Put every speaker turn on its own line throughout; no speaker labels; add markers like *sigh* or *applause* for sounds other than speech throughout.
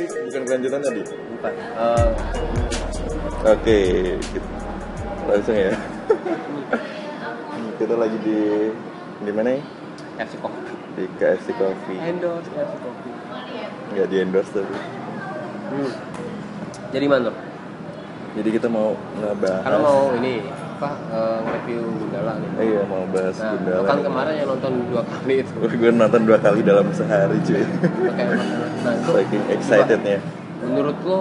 lanjutan tadi?
bukan Eh,
Oke, kita langsung ya. *laughs* kita lagi di di mana ya?
KFC Coffee
Di KFC Coffee.
endorse KFC Coffee
Nggak di endorse tapi.
hmm. jadi mantap
Jadi kita mau ngebahas.
karena mau ini apa eh, review Gundala nih
Eh, iya mau bahas
nah
Gundala.
lo kan kemarin yang nonton dua kali
*laughs*
itu
gue nonton dua kali dalam sehari cuy.
Lo kayak masalah. nah itu
Saking excitednya.
menurut lo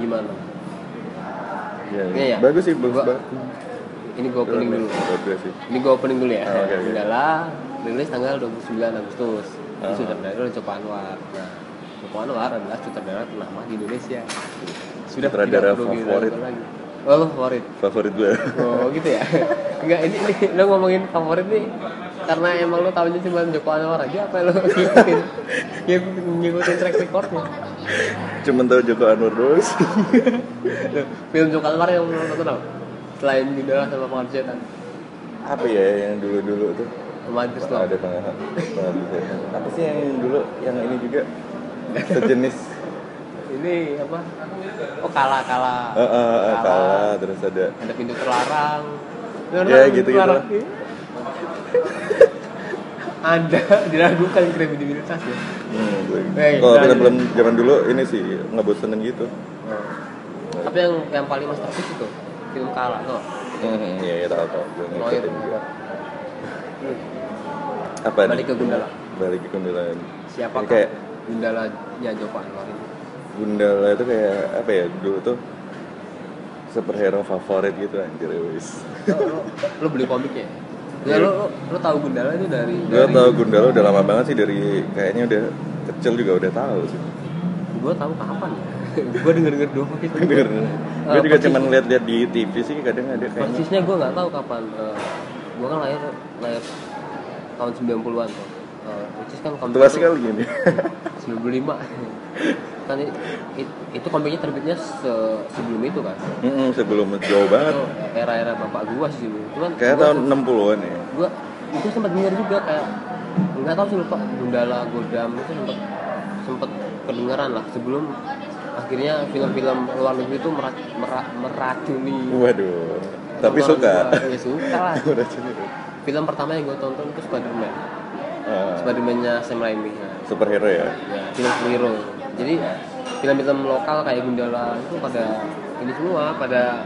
gimana
Iya,
Iya, iya.
Bagus sih, bagus
Gua-
banget.
ini gue opening dulu
Bagus sih.
ini gue opening dulu ya
Oh, oke, oke.
Gundala rilis tanggal 29 Agustus
Ah.
Ini sutradara oleh Joko Anwar nah Joko Anwar adalah sutradara ternama di Indonesia sudah
Sutradara
tidak perlu diragukan
favorit.
lagi. oh lo favorit
Favorit gue.
Oh gitu ya? Enggak, ini, ini lo ngomongin favorit nih Karena emang lo tahunya cuma Joko Anwar aja apa lo
*laughs*
ngikutin ngikutin, ngikutin track recordnya
*laughs* Cuman tahu Joko Anwar doang sih.
Loh, Film Joko Anwar yang lo nonton apa? Selain Gundala sama Pengabdi Setan
Apa ya yang dulu-dulu tuh?
Sama Antis lo
ada pengahan apa sih yang dulu yang ini juga *laughs* sejenis
Ini apa? Oh kalah kalah
Eh, eh, eh, kalah terus ada
Ada pintu terlarang Lo
Ya,
nonton
gitu-gitu
terlarang? *laughs*
lah.
Iya. Ada diragukan kredibilitasnya
hmm, gue-
Eh,
kalau
nah,
film-film zaman dulu ini sih nggak bosenin gitu
Tapi yang yang paling masterpiece itu film kalah tuh.
hmm, iya iya tahu tahu gue
Oh, iya.
ngikutin juga apa nih?
Balik ke Gundala.
balik ke Gundala ini.
Siapa
Ini kayak
gundalanya Joko Anwar ini?
Gundala itu kayak apa ya dulu tuh superhero favorit gitu anjir ya, wis
Lo, lo, lo beli komiknya?
Iya.
Ya, lo, lo, lo tahu Gundala itu dari
gue
dari
tau Gundala udah lama banget sih dari kayaknya udah kecil juga udah tahu sih
Gua tahu kapan ya? *laughs* gue denger denger doang gitu.
Bener. Gue
Eh,
juga
persis-
cuman lihat-lihat di TV sih kadang ada kayaknya.
Persisnya gue nggak tahu kapan. Eh, gue kan lahir lahir tahun 90-an tuh. Eh, which is kan komik
Tua
itu
sekali
*laughs*
gini.
95
*laughs*
kan i- i- itu komiknya terbitnya se- sebelum itu kan
Mm-mm, sebelum jauh banget.
itu era-era bapak gua sih dulu cuman
Kayak
gua
tahun
se-
60-an ya.
gua itu sempat denger juga kayak nggak tahu sih lupa Gundala Godam itu sempat sempat kedengaran lah sebelum akhirnya film-film luar negeri itu mera, mera- meracuni
Waduh. Tapi
Orang
suka. *laughs* gitu.
gua- ya suka lah
Udah sini tuh.
film pertama yang gue tonton itu Spiderman
Ah,
Spidermannya Sam Raimi ya.
superhero ya.
ya film superhero jadi film-film lokal kayak Gundala itu pada ini semua pada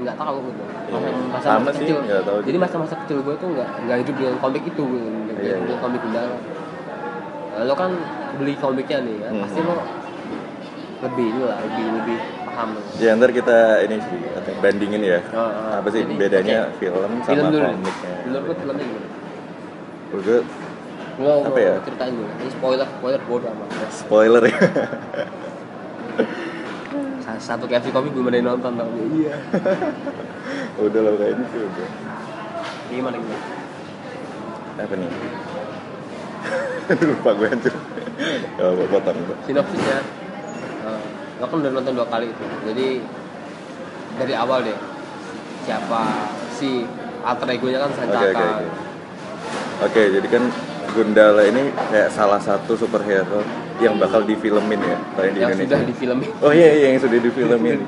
nggak tahu gitu
Iya.
masa
Sama
masa
sih,
kecil
nggak tahu
jadi
juga.
masa-masa kecil gue tuh nggak nggak hidup dengan komik itu gitu
Iya,
nggak hidup
iya.
dengan komik Gundala Nah, lo kan beli komiknya nih ya,
Hmm.
pasti lo lebih ini lah lebih lebih paham
Ya ntar kita ini sih apa, bandingin ya.
Ah, ah.
Apa sih
Jadi,
bedanya
oke.
film sama
film dulu
komiknya?
menurut lo filmnya gimana
Gue
lo
Apa
lo
ya?
ceritain dulu ini spoiler spoiler bodoh amat
spoiler ya. *laughs*
Sa- satu KFC kopi belum ada yang nonton tapi iya
udah lah kayaknya sih udah.
gimana gimana
Apa nih? *laughs* Lupa gue hancur. Gak apa potong. Pak.
sinopsisnya eh, lo kan udah nonton dua kali itu jadi dari awal deh siapa si alter egonya kan
Oke
Sancaka
oke oke. Oke jadi kan Gundala ini kayak salah satu superhero yang bakal difilmin ya paling di
yang
Indonesia.
sudah di film
Oh iya iya yang sudah difilmin.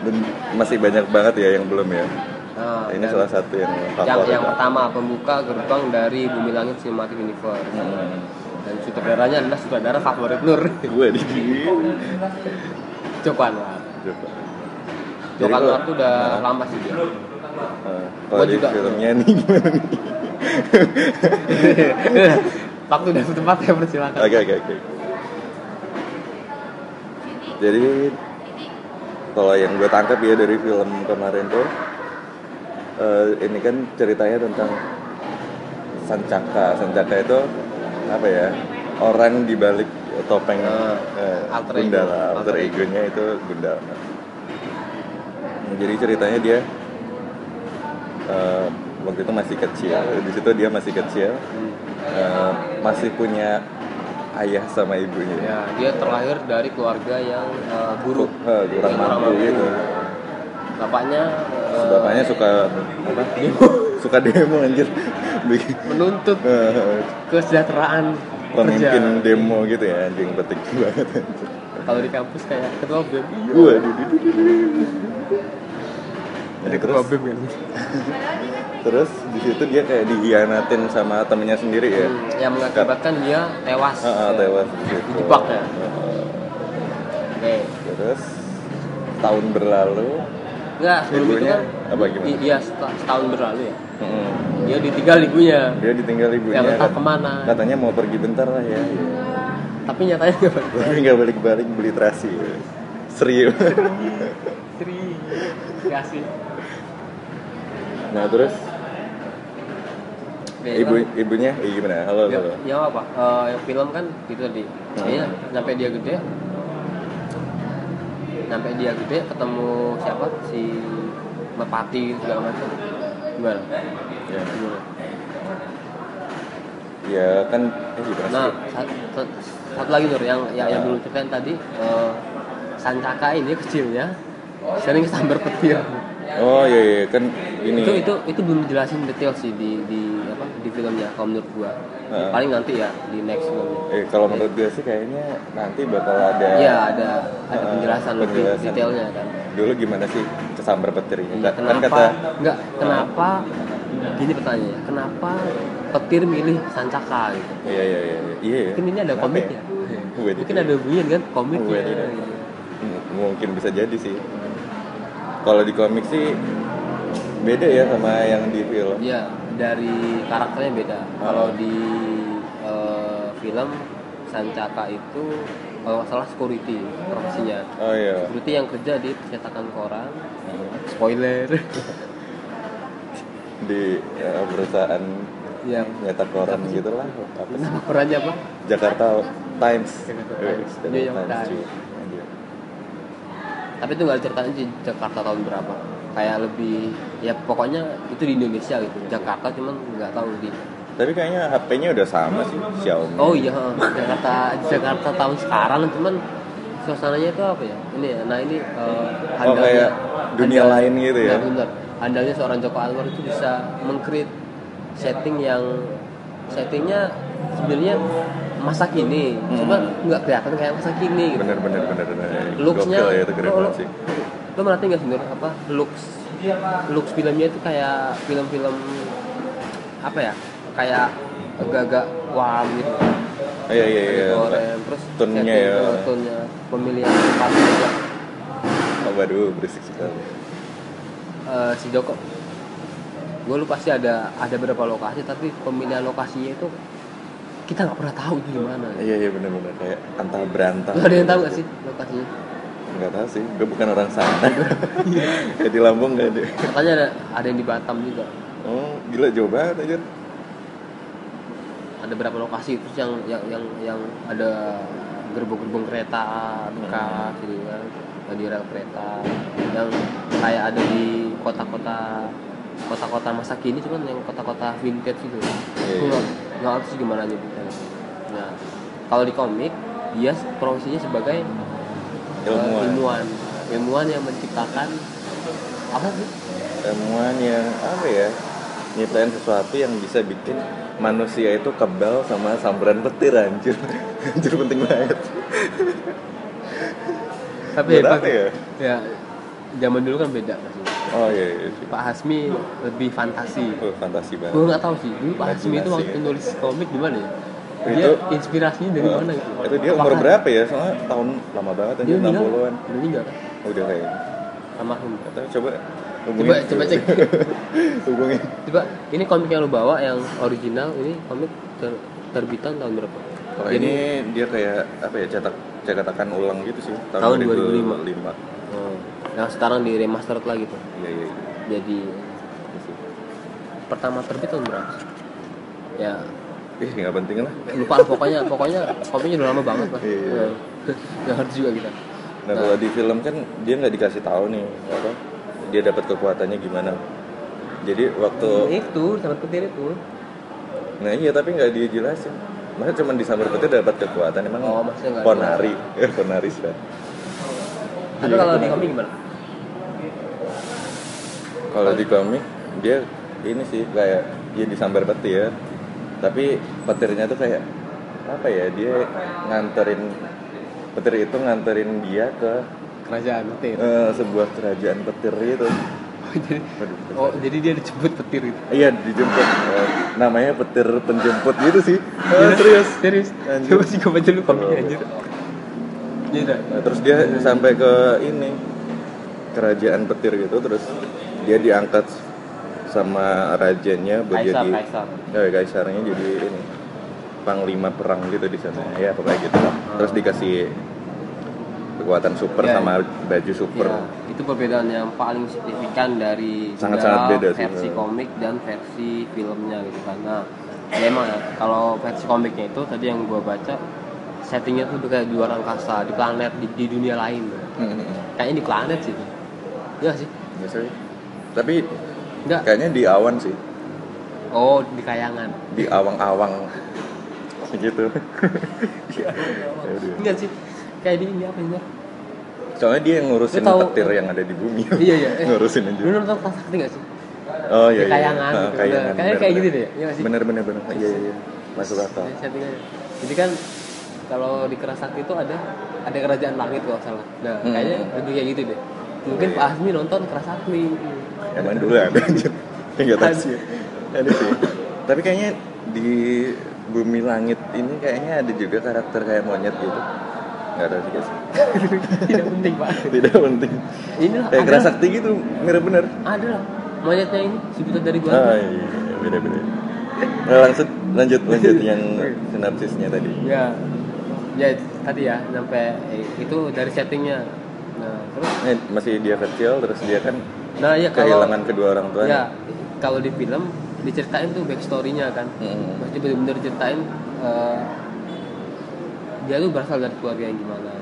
Dan masih banyak banget ya yang belum ya. ini salah satu yang
yang,
favorit.
Nah, yang pertama pembuka gerbang dari Bumi Langit Cinematic Universe
Hmm.
dan sutradaranya adalah sutradara favorit Nur *laughs*
Gue di sini.
Oh, iya. Joko Anwar
Coba. Jadi
Joko
kalau-
Anwar tuh udah lama sih
*laughs*
dia
Eh, kalau
Gua
di
juga.
filmnya nih gimana nih?
waktu dan tempat ya persilakan
Oke oke oke. Jadi kalau yang gue tangkap ya dari film kemarin tuh eh, ini kan ceritanya tentang Sancaka. Sancaka itu apa ya? Orang di balik topeng
Ah,
eh,
alter ego.
Gundala, alter
Alter ego.
egonya itu Gundala. Nah, Jadi ceritanya dia eh, waktu itu masih kecil. Di situ dia masih kecil.
Hmm.
Eh, masih punya ayah sama ibunya.
Ya, dia terlahir dari keluarga yang eh, buruk,
Eh, kurang mampu gitu.
Bapaknya eh,
Bapaknya suka apa? suka demo anjir. *laughs* Bikin-
*laughs* menuntut
eh,
kesejahteraan
Pemimpin
kerja.
demo gitu ya anjing petik banget. anjir.
kalau di kampus kayak ketua bem
Gue Jadi
ketua
terus
bem kan
terus di situ dia kayak dihianatin sama temennya sendiri ya.
Hmm, yang mengakibatkan dia tewas
Heeh,
ya.
Ah, tewas di situ.
Dijebak ya?
Heeh.
oke
Terus tahun berlalu,
enggak sebelum itu
Liburnya
kan
apa gimana?
i- iya seta- setahun berlalu ya
heeh,
dia ditinggal ibunya
dia ditinggal ibunya. kan? Nah.
yang entah
kat-
kemana
Katanya mau pergi bentar lah ya.
tapi nyatanya nggak balik
Tapi nggak balik-balik beli terasi. Serius.
Tri kasih
Nah terus ibu ibunya eh, gimana? Halo
ya,
halo.
ya apa Eh, yang film kan gitu tadi
Hmm.
Iya, sampai dia gede sampai dia gede ketemu siapa si merpati segala macam gimana
Ya,
Gimana?
ya kan eh gimana sih?
nah satu, satu lagi Nur yang yang, yang dulu ceritain tadi eh, Sancaka ini kecilnya sering kesambar petir
Oh iya iya kan ini.
itu itu itu belum dijelasin detail sih di di apa di filmnya kalau menurut gua
Nah.
paling nanti ya di next filmnya
Eh kalau menurut gue sih kayaknya nanti bakal ada.
Iya ada ada
Eh,
penjelasan lebih
penjelasan.
detailnya kan.
Dulu gimana sih kesambar petirnya?
Iya,
Ka-
kenapa?
Kan kata
enggak, kenapa gini pertanyaannya. Kenapa petir milih Sancaka gitu?
iya iya iya iya. iya.
Mungkin ini ada
Kenapa ya?
komiknya.
*laughs* Wait,
Mungkin
wait.
ada hubungan kan komiknya.
Wait, wait. M- mungkin bisa jadi sih. Kalau di komik sih beda ya sama yang di film.
Iya, dari karakternya beda. Kalau
Ah.
di eh, film Sancaka itu kalau nggak salah security profesinya.
Oh iya.
Security yang kerja di percetakan koran. Spoiler.
Di eh, perusahaan
*laughs* Iya.
nyetak koran gitu lah. Apa sih?
Kenapa korannya apa?
Jakarta Times.
Jakarta
Eh,
Times. Iya, New York Times.
cuy. Anjir.
tapi itu nggak diceritain di Jakarta tahun berapa kayak lebih ya pokoknya itu di Indonesia gitu Jakarta cuman nggak tahu di
Tapi kayaknya HP-nya udah sama sih Xiaomi.
oh iya Jakarta Jakarta tahun sekarang cuman suasananya itu apa ya ini ya nah ini eh,
Oh, kayak dunia
handal-
lain gitu ya?
Benar, benar. handalnya seorang Joko Anwar itu bisa mengcreate setting yang settingnya sebenarnya masa kini cuma
Hmm.
nggak kelihatan kayak masa kini gitu
Bener bener bener bener.
looksnya Oh,
Gokil ya itu keren
lo- lo-
banget sih.
lo merhatiin nggak sebenarnya apa looks looks filmnya itu kayak film-film apa ya kayak agak-agak warm gitu
Oh, iya iya iya.
Goreng. terus
Tone-nya
setting,
ya.
eh, tone-nya pemilihan tempatnya juga
Oh, waduh berisik sekali.
Eh, si Joko gue lupa sih ada ada beberapa lokasi tapi pemilihan lokasinya itu kita nggak pernah tahu itu di mana
Iya iya bener bener kayak antah berantah.
Lo ada yang tahu nggak sih lokasinya
Nggak tahu sih, gue bukan orang
*laughs*
sana.
Iya.
Jadi Lampung nggak ada.
katanya ada ada yang di Batam juga
Oh gila jauh banget aja.
ada berapa lokasi terus yang yang yang, yang ada gerbong-gerbong kereta bekas gitu kan Yang di rel kereta yang kayak ada di kota-kota kota-kota masa kini cuman yang kota-kota vintage gitu
iya.
Aku nggak nggak ngerti sih gimana nyebutnya nah kalau di komik dia profesinya sebagai eh,
Ilmuwan.
ilmuwan ilmuwan yang menciptakan apa sih
Temuan yang apa ya? Nyiptain sesuatu yang bisa bikin manusia itu kebal sama sambaran petir anjir. *laughs* Anjir penting banget.
tapi
Berat
hebat
ya?
ya zaman dulu kan beda pasti.
Oh iya iya. sih.
Pak Hasmi lebih fantasi
Oh, fantasi banget.
gue nggak tahu sih dulu Pak Hasmi itu waktu
Imajinasi ya.
nulis komik gimana ya
Itu-
dia inspirasinya dari mana gitu
Itu dia umur
Apakah
berapa ya? Soalnya tahun lama banget
dia
anjir,
meninggal
60-an.
udah meninggal kan
Udah kayaknya.
almarhum
Atau coba
coba coba cek
*laughs* hubungin.
coba ini komik yang lu bawa yang original ini komik ter- terbitan tahun berapa
Kalau Oh, ini dia kayak apa ya cetak cetakan ulang gitu sih
Tahun
2005.
2005. eh, yang sekarang di remastered lagi tuh
Iya iya. iya.
jadi
Gitu sih.
pertama terbit tahun berapa ya
Ih nggak penting lah.
lupa lah, pokoknya pokoknya komiknya udah lama banget lah
Iya.
Ya. *laughs* nggak harus juga kita
Nah, kalau di film kan dia nggak dikasih tahu nih apa dia dapat kekuatannya gimana. Jadi waktu
itu sampai petir itu
nah iya tapi nggak dijelasin. Masa cuma disambar petir dapat kekuatan emang
Oh, maksudnya nggak
ponari, *laughs* eh, ponari sudah.
tapi kalau di komik gimana
Kalau di komik dia ini sih kayak dia disambar petir, tapi petirnya tuh kayak apa ya dia nganterin petir itu nganterin dia ke
kerajaan petir
eh, sebuah kerajaan petir itu
jadi
Waduh, petir.
oh jadi dia dijemput petir gitu
iya dijemput Eh, namanya petir penjemput gitu sih
Iya.
Eh, serius
*laughs* serius
Anjir.
coba sih gue baca lu kopinya
Coba.
anjir Iya, Dra.
Nah, terus dia sampai ke ini kerajaan petir gitu terus dia diangkat sama rajanya buat
Kaisar,
jadi
kaisar.
Eh, kaisarnya jadi ini panglima perang gitu di sana ya pokoknya gitu
Oh.
lah. terus dikasih kekuatan super
Ya,
sama baju super
Iya, itu perbedaan yang paling signifikan dari
Sangat-sangat
novel,
beda sih,
versi
iya.
komik dan versi filmnya gitu karena ya emang ya kalau versi komiknya itu tadi yang gua baca settingnya tuh kayak di luar angkasa di planet di, di dunia lain
Hmm,
kayaknya di planet sih itu ya sih
iya sih. tapi
enggak
kayaknya di awan sih
oh di kayangan
di awang-awang *laughs* gitu
Iya,
Ya udah.
enggak sih kayak di ini apa ya? ini
soalnya dia yang ngurusin
Lu tahu-
petir yang ada di bumi
*laughs* iya iya eh,
*laughs* ngurusin aja
lu nonton kelas sakti nggak sih
Oh iya.
Di
iya. Ah,
kayangan gitu.
kayangan.
Nah, kayaknya kayak gitu deh ya? Iya
Iya
nggak sih?
Bener bener bener. Iya iya. iya. Masuk akal.
Ya, settingannya. Jadi kan kalau di Kerasakti itu ada ada kerajaan langit kalau nggak salah. Nah,
Hmm.
kayaknya lebih kayak gitu deh. Mungkin
Iya.
Pak Azmi nonton Kerasakti.
Emang dulu ada anjir. Enggak tahu sih. Ada sih. *laughs* Tapi kayaknya di bumi langit ini kayaknya ada juga karakter kayak monyet gitu. Enggak tahu juga sih.
Tidak penting, Pak.
Tidak penting.
Inilah
Kayak
ada,
keras sakti gitu, mirip bener.
ada lah. Monyetnya ini sebutan dari gua.
Ah iya, iya, beda beda. Nah, langsung lanjut
*laughs*
lanjut yang sinapsisnya tadi.
Ya. Ya tadi ya sampai eh, itu dari settingnya. Nah, terus
Eh, masih dia kecil terus dia kan
nah ya kalau
kehilangan kedua orang tuanya.
ya kalau di film diceritain tuh backstory-nya kan.
Mm.
Pasti bener-bener ceritain eh, dia tuh berasal dari keluarga yang gimana.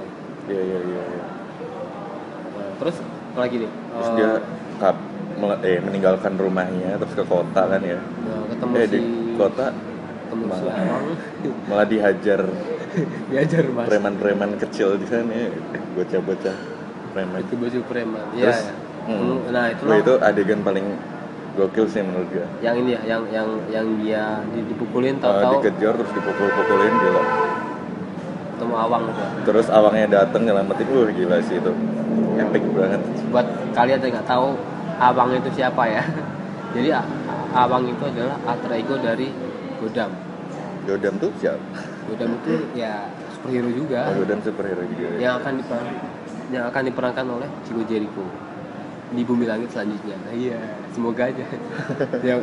Iya iya iya. iya.
Nah, terus apa lagi nih
terus
Eh,
dia kap mele- eh, meninggalkan rumahnya terus ke kota kan ya
nah, ketemu
eh
si
di kota
ketemu si
malah.
*laughs* Awang
malah dihajar
diajar mas
preman-preman kecil di sana ya. bocah-bocah preman
itu baju preman ya,
terus
ya.
hmm,
Hmm, nah itu
wah, itu adegan paling gokil sih menurut gue
yang ini ya yang yang yang dia di- dipukulin
Eh,
tahu-tahu
dikejar terus dipukul-pukulin gila
ketemu awang gitu ya.
terus awangnya dateng nyelamatin wah gila sih itu epic banget
buat kalian yang nggak tahu awang itu siapa ya *laughs* jadi A- awang itu adalah alter ego dari godam
Godam tuh siapa?
godam itu ya superhero juga
Oh, Godam superhero juga ya?
yang akan diperan yang akan diperankan oleh Chico Jericho di bumi langit selanjutnya. Nah, iya, semoga aja. ya,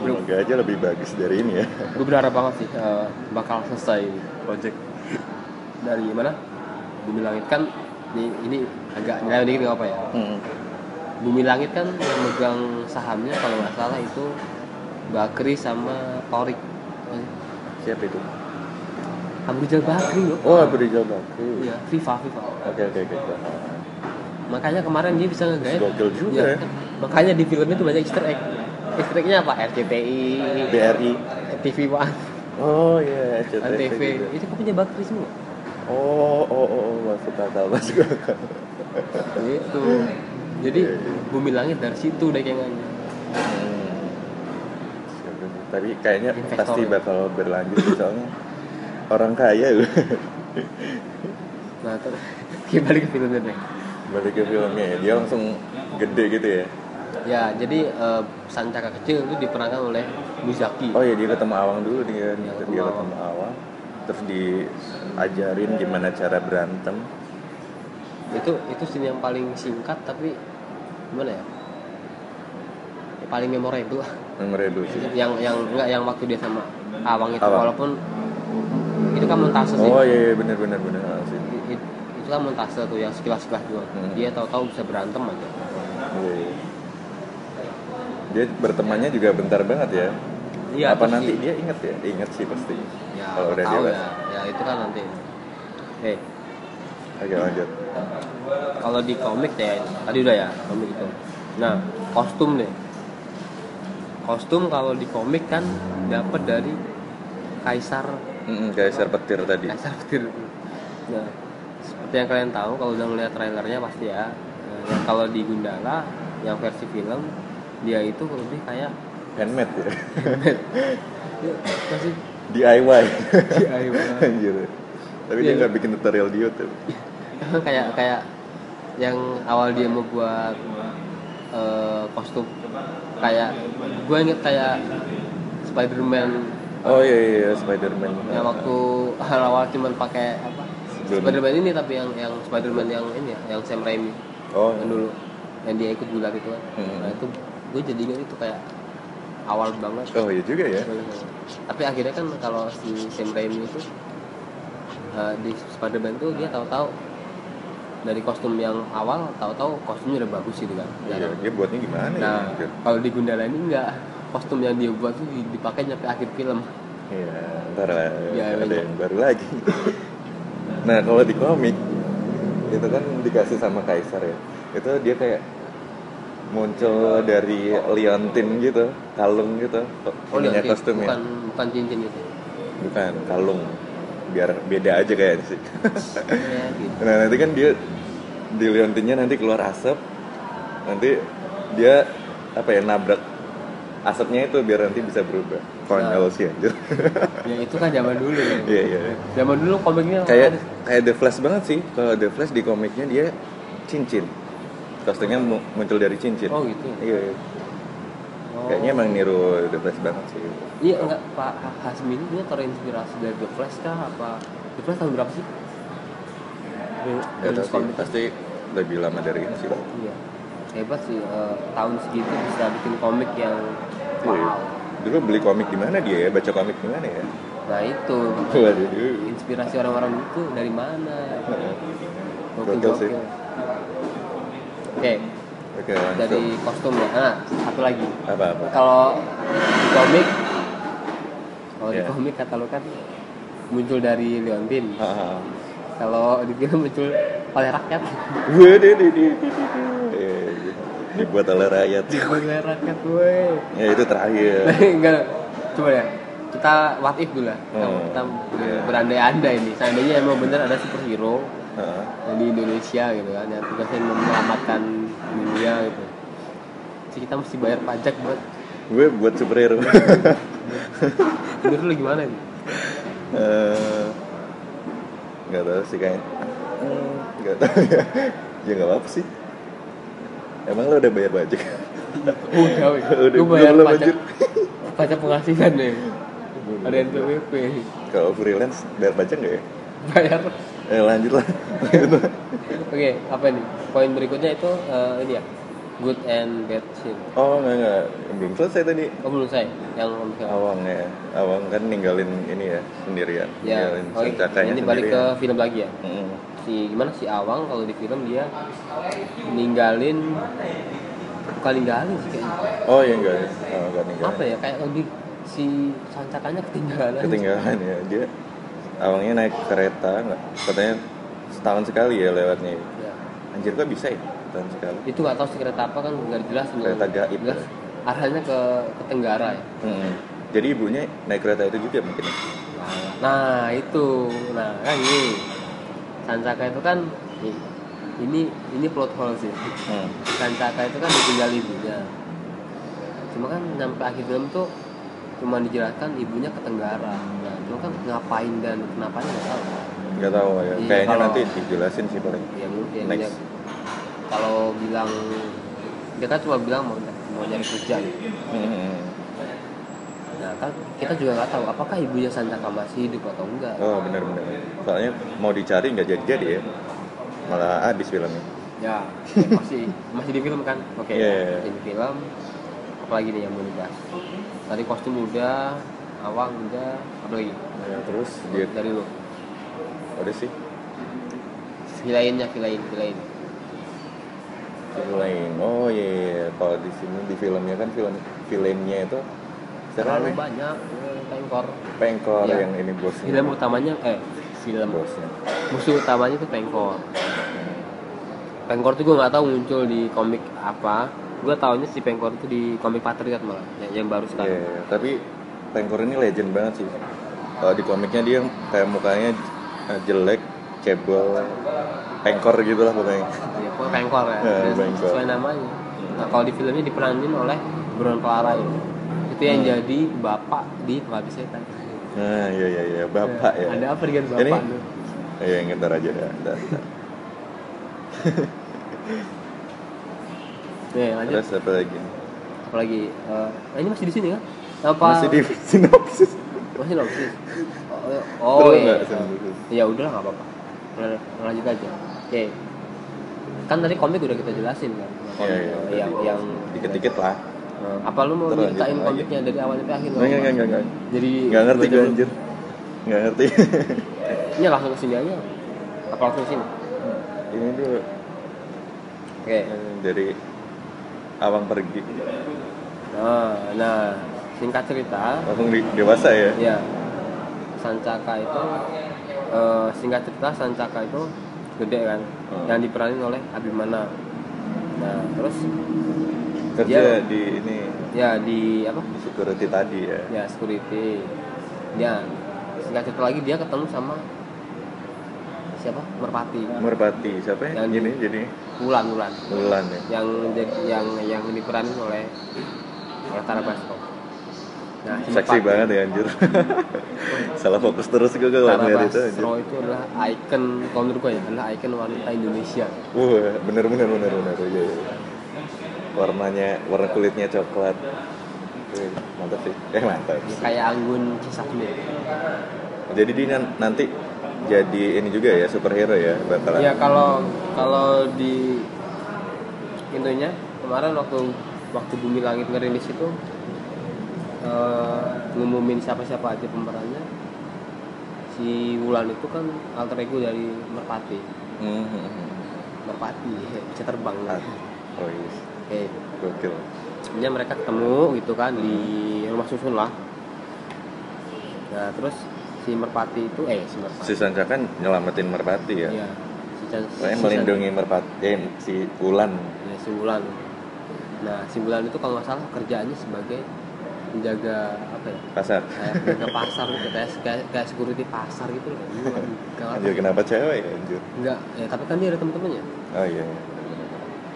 Semoga aja lebih bagus dari ini ya
gue berharap banget sih eh, bakal selesai ini project dari mana? Bumi langit kan ini, ini agak nyalain dikit nggak apa ya?
Hmm.
Bumi langit kan yang megang sahamnya kalau nggak salah itu Bakri sama Torik.
Siapa itu?
Abu Jal Bakri loh.
Oh, Abrijal Bakri
Iya, FIFA, FIFA.
Oke oke oke.
makanya kemarin dia bisa ngegait
Gokil juga ya.
makanya di filmnya tuh banyak easter egg easter eggnya apa RCTI
BRI.
TV One
Oh iya, SCTV
TV
juga.
itu kan punya Bakri semua
Oh oh oh, oh, masuk akal *laughs* masuk akal.
gitu jadi
Iya, iya.
bumi langit dari situ deh kayaknya
Hmm. Siapa nih? Tapi kayaknya
Investor
pasti
ya.
bakal berlanjut sih, soalnya orang kaya loh. *laughs*
nah terus *laughs* kita balik ke filmnya deh
Balik ke filmnya ya, dia langsung gede gitu ya.
ya jadi eh, sancaka kecil itu diperankan oleh Muzaki
Oh iya dia ketemu Awang dulu dia
Iya, ketemu
dia
Awang.
ketemu Awang terus diajarin gimana cara berantem.
itu itu scene yang paling singkat tapi gimana ya paling memorable *laughs* lah
Memorable sih.
yang yang enggak yang waktu dia sama Awang itu
Awang.
walaupun itu kan montase sih.
Oh iya iya benar benar benar sih.
I- i- itu kan montase tuh yang sekilas-sekilas doang.
Hmm.
Dia tahu-tahu bisa berantem aja.
Iya, iya. Dia bertemannya juga bentar banget ya. Apa
Iya, terus
nanti
di-
dia inget ya? Inget sih pasti.
ya,
Kalau udah
tahu
dewasa.
ya. ya itu kan nanti. Eh,
Oke lanjut.
kalau di komik ya tadi udah ya komik itu. Nah, kostum nih. Kostum kalau di komik kan dapat dari kaisar
Mm-mm, Kaisar petir tadi.
kaisar petir. Nah, seperti yang kalian tahu kalau udah ngeliat trailernya pasti ya. Nah, yang kalau di Gundala yang versi film dia itu lebih kayak *laughs*
Handmade ya. *laughs*
Ya, apa sih *laughs*
DIY.
DIY
Anjir. tapi dia
Iya.
nggak bikin tutorial di YouTube
kayak kayak yang awal dia membuat eh, kostum kayak gue inget kayak Spider-Man
oh iya iya Spiderman
yang waktu *laughs* awal cuman pakai apa
Sebelum-
Spider-Man ini tapi yang yang Spider-Man yang ini ya, yang Sam Raimi
oh
yang dulu yang dia ikut gulat itu kan
Hmm.
nah itu gue jadi ingat itu kayak awal banget
oh iya juga ya
tapi akhirnya kan kalau si Sam Raimi itu eh, di Spider-Man tuh dia tahu-tahu dari kostum yang awal tahu-tahu kostumnya udah bagus gitu kan.
Iya, dia buatnya gimana ya?
Nah,
mungkin?
kalau di Gundala ini enggak kostum yang dia buat tuh dipakai sampai akhir film.
Iya, ntar lah,
Ya,
ada
iya.
yang baru lagi. nah, kalau di komik itu kan dikasih sama Kaisar ya. Itu dia kayak muncul dari liontin gitu, kalung gitu. Ininya
oke.
kostumnya.
Oh, bukan bukan cincin itu.
Bukan, kalung. Biar beda aja kayaknya sih. *laughs*
Ya, gitu.
Nah, nanti kan dia di liontinnya nanti keluar asap. Nanti dia apa ya nabrak asapnya itu biar nanti bisa berubah.
Iya.
Konyol sih anjir.
Ya itu kan zaman dulu. ya.
*laughs* Iya, iya. iya.
Zaman dulu komiknya
kayak kayak The Flash banget sih kalau The Flash di komiknya dia cincin kostumnya mu- muncul dari cincin
Oh, gitu ya?
iya, iya.
Oh.
kayaknya emang niru The Flash banget sih
Iya enggak Pak Hasmi ini dia terinspirasi dari The Flash kah apa The Flash tahun berapa sih?
Nggak tahu
Rilis
sih,
komik.
pasti lebih lama dari ini sih
Iya. Hebat sih eh, tahun segitu bisa bikin komik yang
Iya.
wow.
dulu beli komik di mana dia ya baca komik di mana ya
Nah itu
waduh
inspirasi orang-orang itu dari mana? Gokil,
Gokil sih.
gokil. Oke,
oke
dari
langsung
kostum ya. Nah, satu lagi.
apa apa
Kalau di komik kalau
Iya.
di komik kata lu kan muncul dari Leontin. Kalau di film muncul oleh rakyat.
waduh Iya, dibuat oleh rakyat
Dibuat oleh rakyat gue.
ya itu terakhir
Enggak. Coba ya. Kita what if dulu lah. Kita,
Hmm.
kita
Iya.
berandai-andai ini. Seandainya emang bener ada superhero
Ah,
yang di Indonesia gitu kan yang tugasnya menyelamatkan dunia gitu. Jadi kita mesti bayar pajak buat
gue buat superhero *laughs*
menurut lu gimana itu?
Eh, nggak tahu sih kayaknya Hmm, nggak tahu ya ya nggak apa sih emang lo udah bayar pajak *laughs*
Udah, weh.
Udah,
Lu ya. bayar
belum
pajak.
lanjut.
Pajak penghasilan deh. Ada yang PWP.
kalau freelance bayar pajak nggak ya
Bayar
eh lanjut lah *laughs* lanjut lah
Oke, apa nih? Poin berikutnya itu eh, ini ya, good and bad scene.
oh nggak nggak belum selesai tadi
Oh belum saya, yang misalnya.
awang ya awang kan ninggalin ini ya sendirian
Ya,
ninggalin
oke.
sancakanya
Ini balik ke
sendirian
film lagi ya.
Mm.
Si gimana si Awang kalau di film dia ninggalin bukan ninggalin sih kayaknya.
oh iya nggak ya oh, nggak ninggalin
Apa ya kayak lebih si sancakannya ketinggalan.
ketinggalan ya dia awangnya naik kereta nggak katanya setahun sekali ya lewatnya
Ya.
Anjir kok bisa ya? Tahun sekali.
Itu nggak tahu sih kereta apa kan nggak jelas.
Kereta gaib.
Jelas. Arahnya ke, ke Tenggara ya.
Mm-mm. Jadi ibunya naik kereta itu juga mungkin.
Nah itu, nah kan ini Sancaka itu kan i- ini ini plot hole sih.
Hmm.
Sancaka itu kan ditinggal ibunya. Cuma kan sampai akhir film tuh cuma dijelaskan ibunya ke Tenggara. Nah, cuma kan ngapain dan kenapa nggak tahu.
Nggak tahu ya.
Iya,
Kayaknya
kalau-
nanti dijelasin sih paling.
Ya mungkin
Next.
dia kalau bilang dia kan cuma bilang mau mau nyari kerja. gitu.
Mm-mm.
Nah kan kita juga nggak tahu apakah ibunya Sancaka masih hidup atau enggak.
Oh benar-benar. Soalnya mau dicari nggak jadi-jadi ya. Malah habis filmnya.
Ya,
*laughs*
ya, masih masih di film kan? Oke.
Iya, iya, iya.
masih Di film. Apalagi nih yang mau dibahas? Tadi kostum udah, awang udah, apa lagi?
Ya, terus dia
Dari lu.
udah sih
Vilainnya, vilain, vilain.
film lain. Oh iya, iya, iya. kalau di sini di filmnya kan film filmnya itu siapa
Terlalu
namanya?
banyak eh, pengkor.
Pengkor
Iya.
yang ini bosnya.
Film utamanya eh film
Bosnya.
musuh utamanya itu pengkor. Pengkor tuh gue nggak tahu muncul di komik apa. Gue taunya si pengkor itu di komik Patriot malah, yang, yang
Iya,
baru sekarang.
iya. tapi Pengkor ini legend banget sih. Kalau di komiknya dia kayak mukanya eh, jelek, cebol, pengkor gitu lah pokoknya.
Ya, pokoknya pengkor ya,
Ya,
Terus
pengkor.
sesuai namanya. Nah, kalau di filmnya diperanin oleh Buron Clara ini. Itu yang
Hmm.
jadi bapak di pengabdi setan.
Nah, iya iya iya, bapak ya.
Ada apa dengan
Ini
bapak lu?
Iya, yang ntar aja ya. Ntar, ntar.
Nih, lanjut.
Terus apa lagi?
Apalagi eh, nah ini masih di sini kan? Apa
Masih di sinopsis.
masih
*laughs*
sinopsis? Oh, oh,
Terus
iya.
nggak sinopsis?
Ya udah nggak apa-apa. Udah, Lanjut aja. Oke. Kan tadi komik udah kita jelasin kan.
Iya, iya, udah.
yang yang Eh,
Dikit-dikit lah.
apa lu mau
Terlanjut
ceritain
lagi.
komiknya dari awal sampai akhir?
Enggak, enggak, enggak, enggak.
Jadi
Enggak ngerti
baca
gue
dulu.
anjir. Enggak ngerti. *laughs*
Ini Iya, langsung ke sini aja. Apa langsung ke sini?
Ini dulu
Oke.
eh, dari Abang pergi.
Nah, nah, singkat cerita,
Langsung di- dewasa ya.
ya Sancaka itu eh, singkat cerita Sancaka itu gede kan,
Hmm.
yang diperanin oleh Abimana. Nah, terus
Kerja
Iya.
di ini
ya di apa?
di security tadi ya.
Ya security. Ya, singkat cerita lagi dia ketemu sama siapa? Merpati.
Merpati siapa ya?
Yang
Gini
di-
jadi
Bulan, bulan.
Mulan ya.
yang jadi- yang yang diperanin oleh oleh Tara Basro. Nah,
Seksi
si Merpati-
banget ya
*laughs*
anjir. Salah fokus terus gue kalau
Tara
ngeliat itu anjir.
Basro itu adalah icon kalau menurut gue ya adalah icon wanita Indonesia
Wah, bener bener bener bener iya, iya. Warnanya warna kulitnya coklat. Wih, Mantap sih. Eh mantap.
Ya, kayak Anggun Cisakmi
Jadi dia nan- nanti jadi ini juga ya superhero ya bakalan.
ya kalau kalau di intinya kemarin waktu waktu Bumi Langit ngerilis itu eh, ngumumin siapa-siapa aja pemerannya si Wulan itu kan alter ego dari Merpati
Hmm, hmm, hmm.
Merpati *laughs* bisa terbang
Ah, Oh iya,
Eh,
gokil.
Sebenarnya mereka ketemu gitu kan di rumah susun lah. Nah terus si merpati itu eh si merpati.
Si Sanca kan nyelamatin Merpati ya.
Iya. Si Chan-
Saya
si
melindungi Merpati, eh, si Ulan.
Chan- ya, si Wulan. Nah si Wulan itu kalau nggak salah kerjaannya sebagai penjaga apa ya?
Pasar.
Kayak penjaga pasar gitu, kayak kayak, kayak security pasar gitu loh.
*laughs*
Nggak-
Anjir kenapa cewek ya anjir?
Nggak, ya tapi kan dia ada temen-temennya.
Oh iya.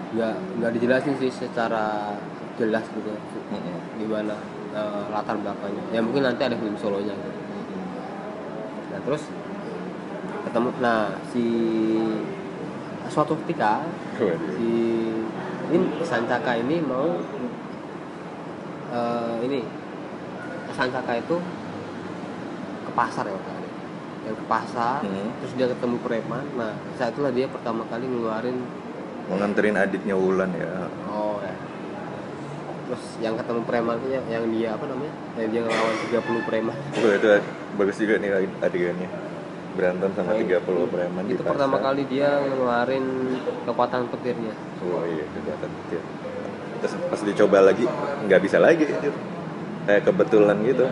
Nggak nggak dijelasin sih secara jelas gitu
Mm-mm.
gimana eh, latar belakangnya. Ya mungkin nanti ada film solonya gitu. Nah terus ketemu, nah si suatu ketika
Waduh.
si ini Sancaka ini mau eh, ini Sancaka itu ke pasar ya waktu itu. yang ke pasar
Hmm.
terus dia ketemu preman nah saat itulah dia pertama kali ngeluarin
Mau nganterin adiknya Wulan ya.
oh ya terus yang ketemu preman itu yang, yang dia apa namanya yang dia ngelawan 30 preman
Wah Oh, itu bagus juga nih adegannya berantem sama
Nah,
30 preman di
itu pertama
pasar.
kali dia ngeluarin kekuatan petirnya
Wah iya kelihatan kecil. Terus pas dicoba lagi nggak bisa lagi anjir. Kayak kebetulan gitu.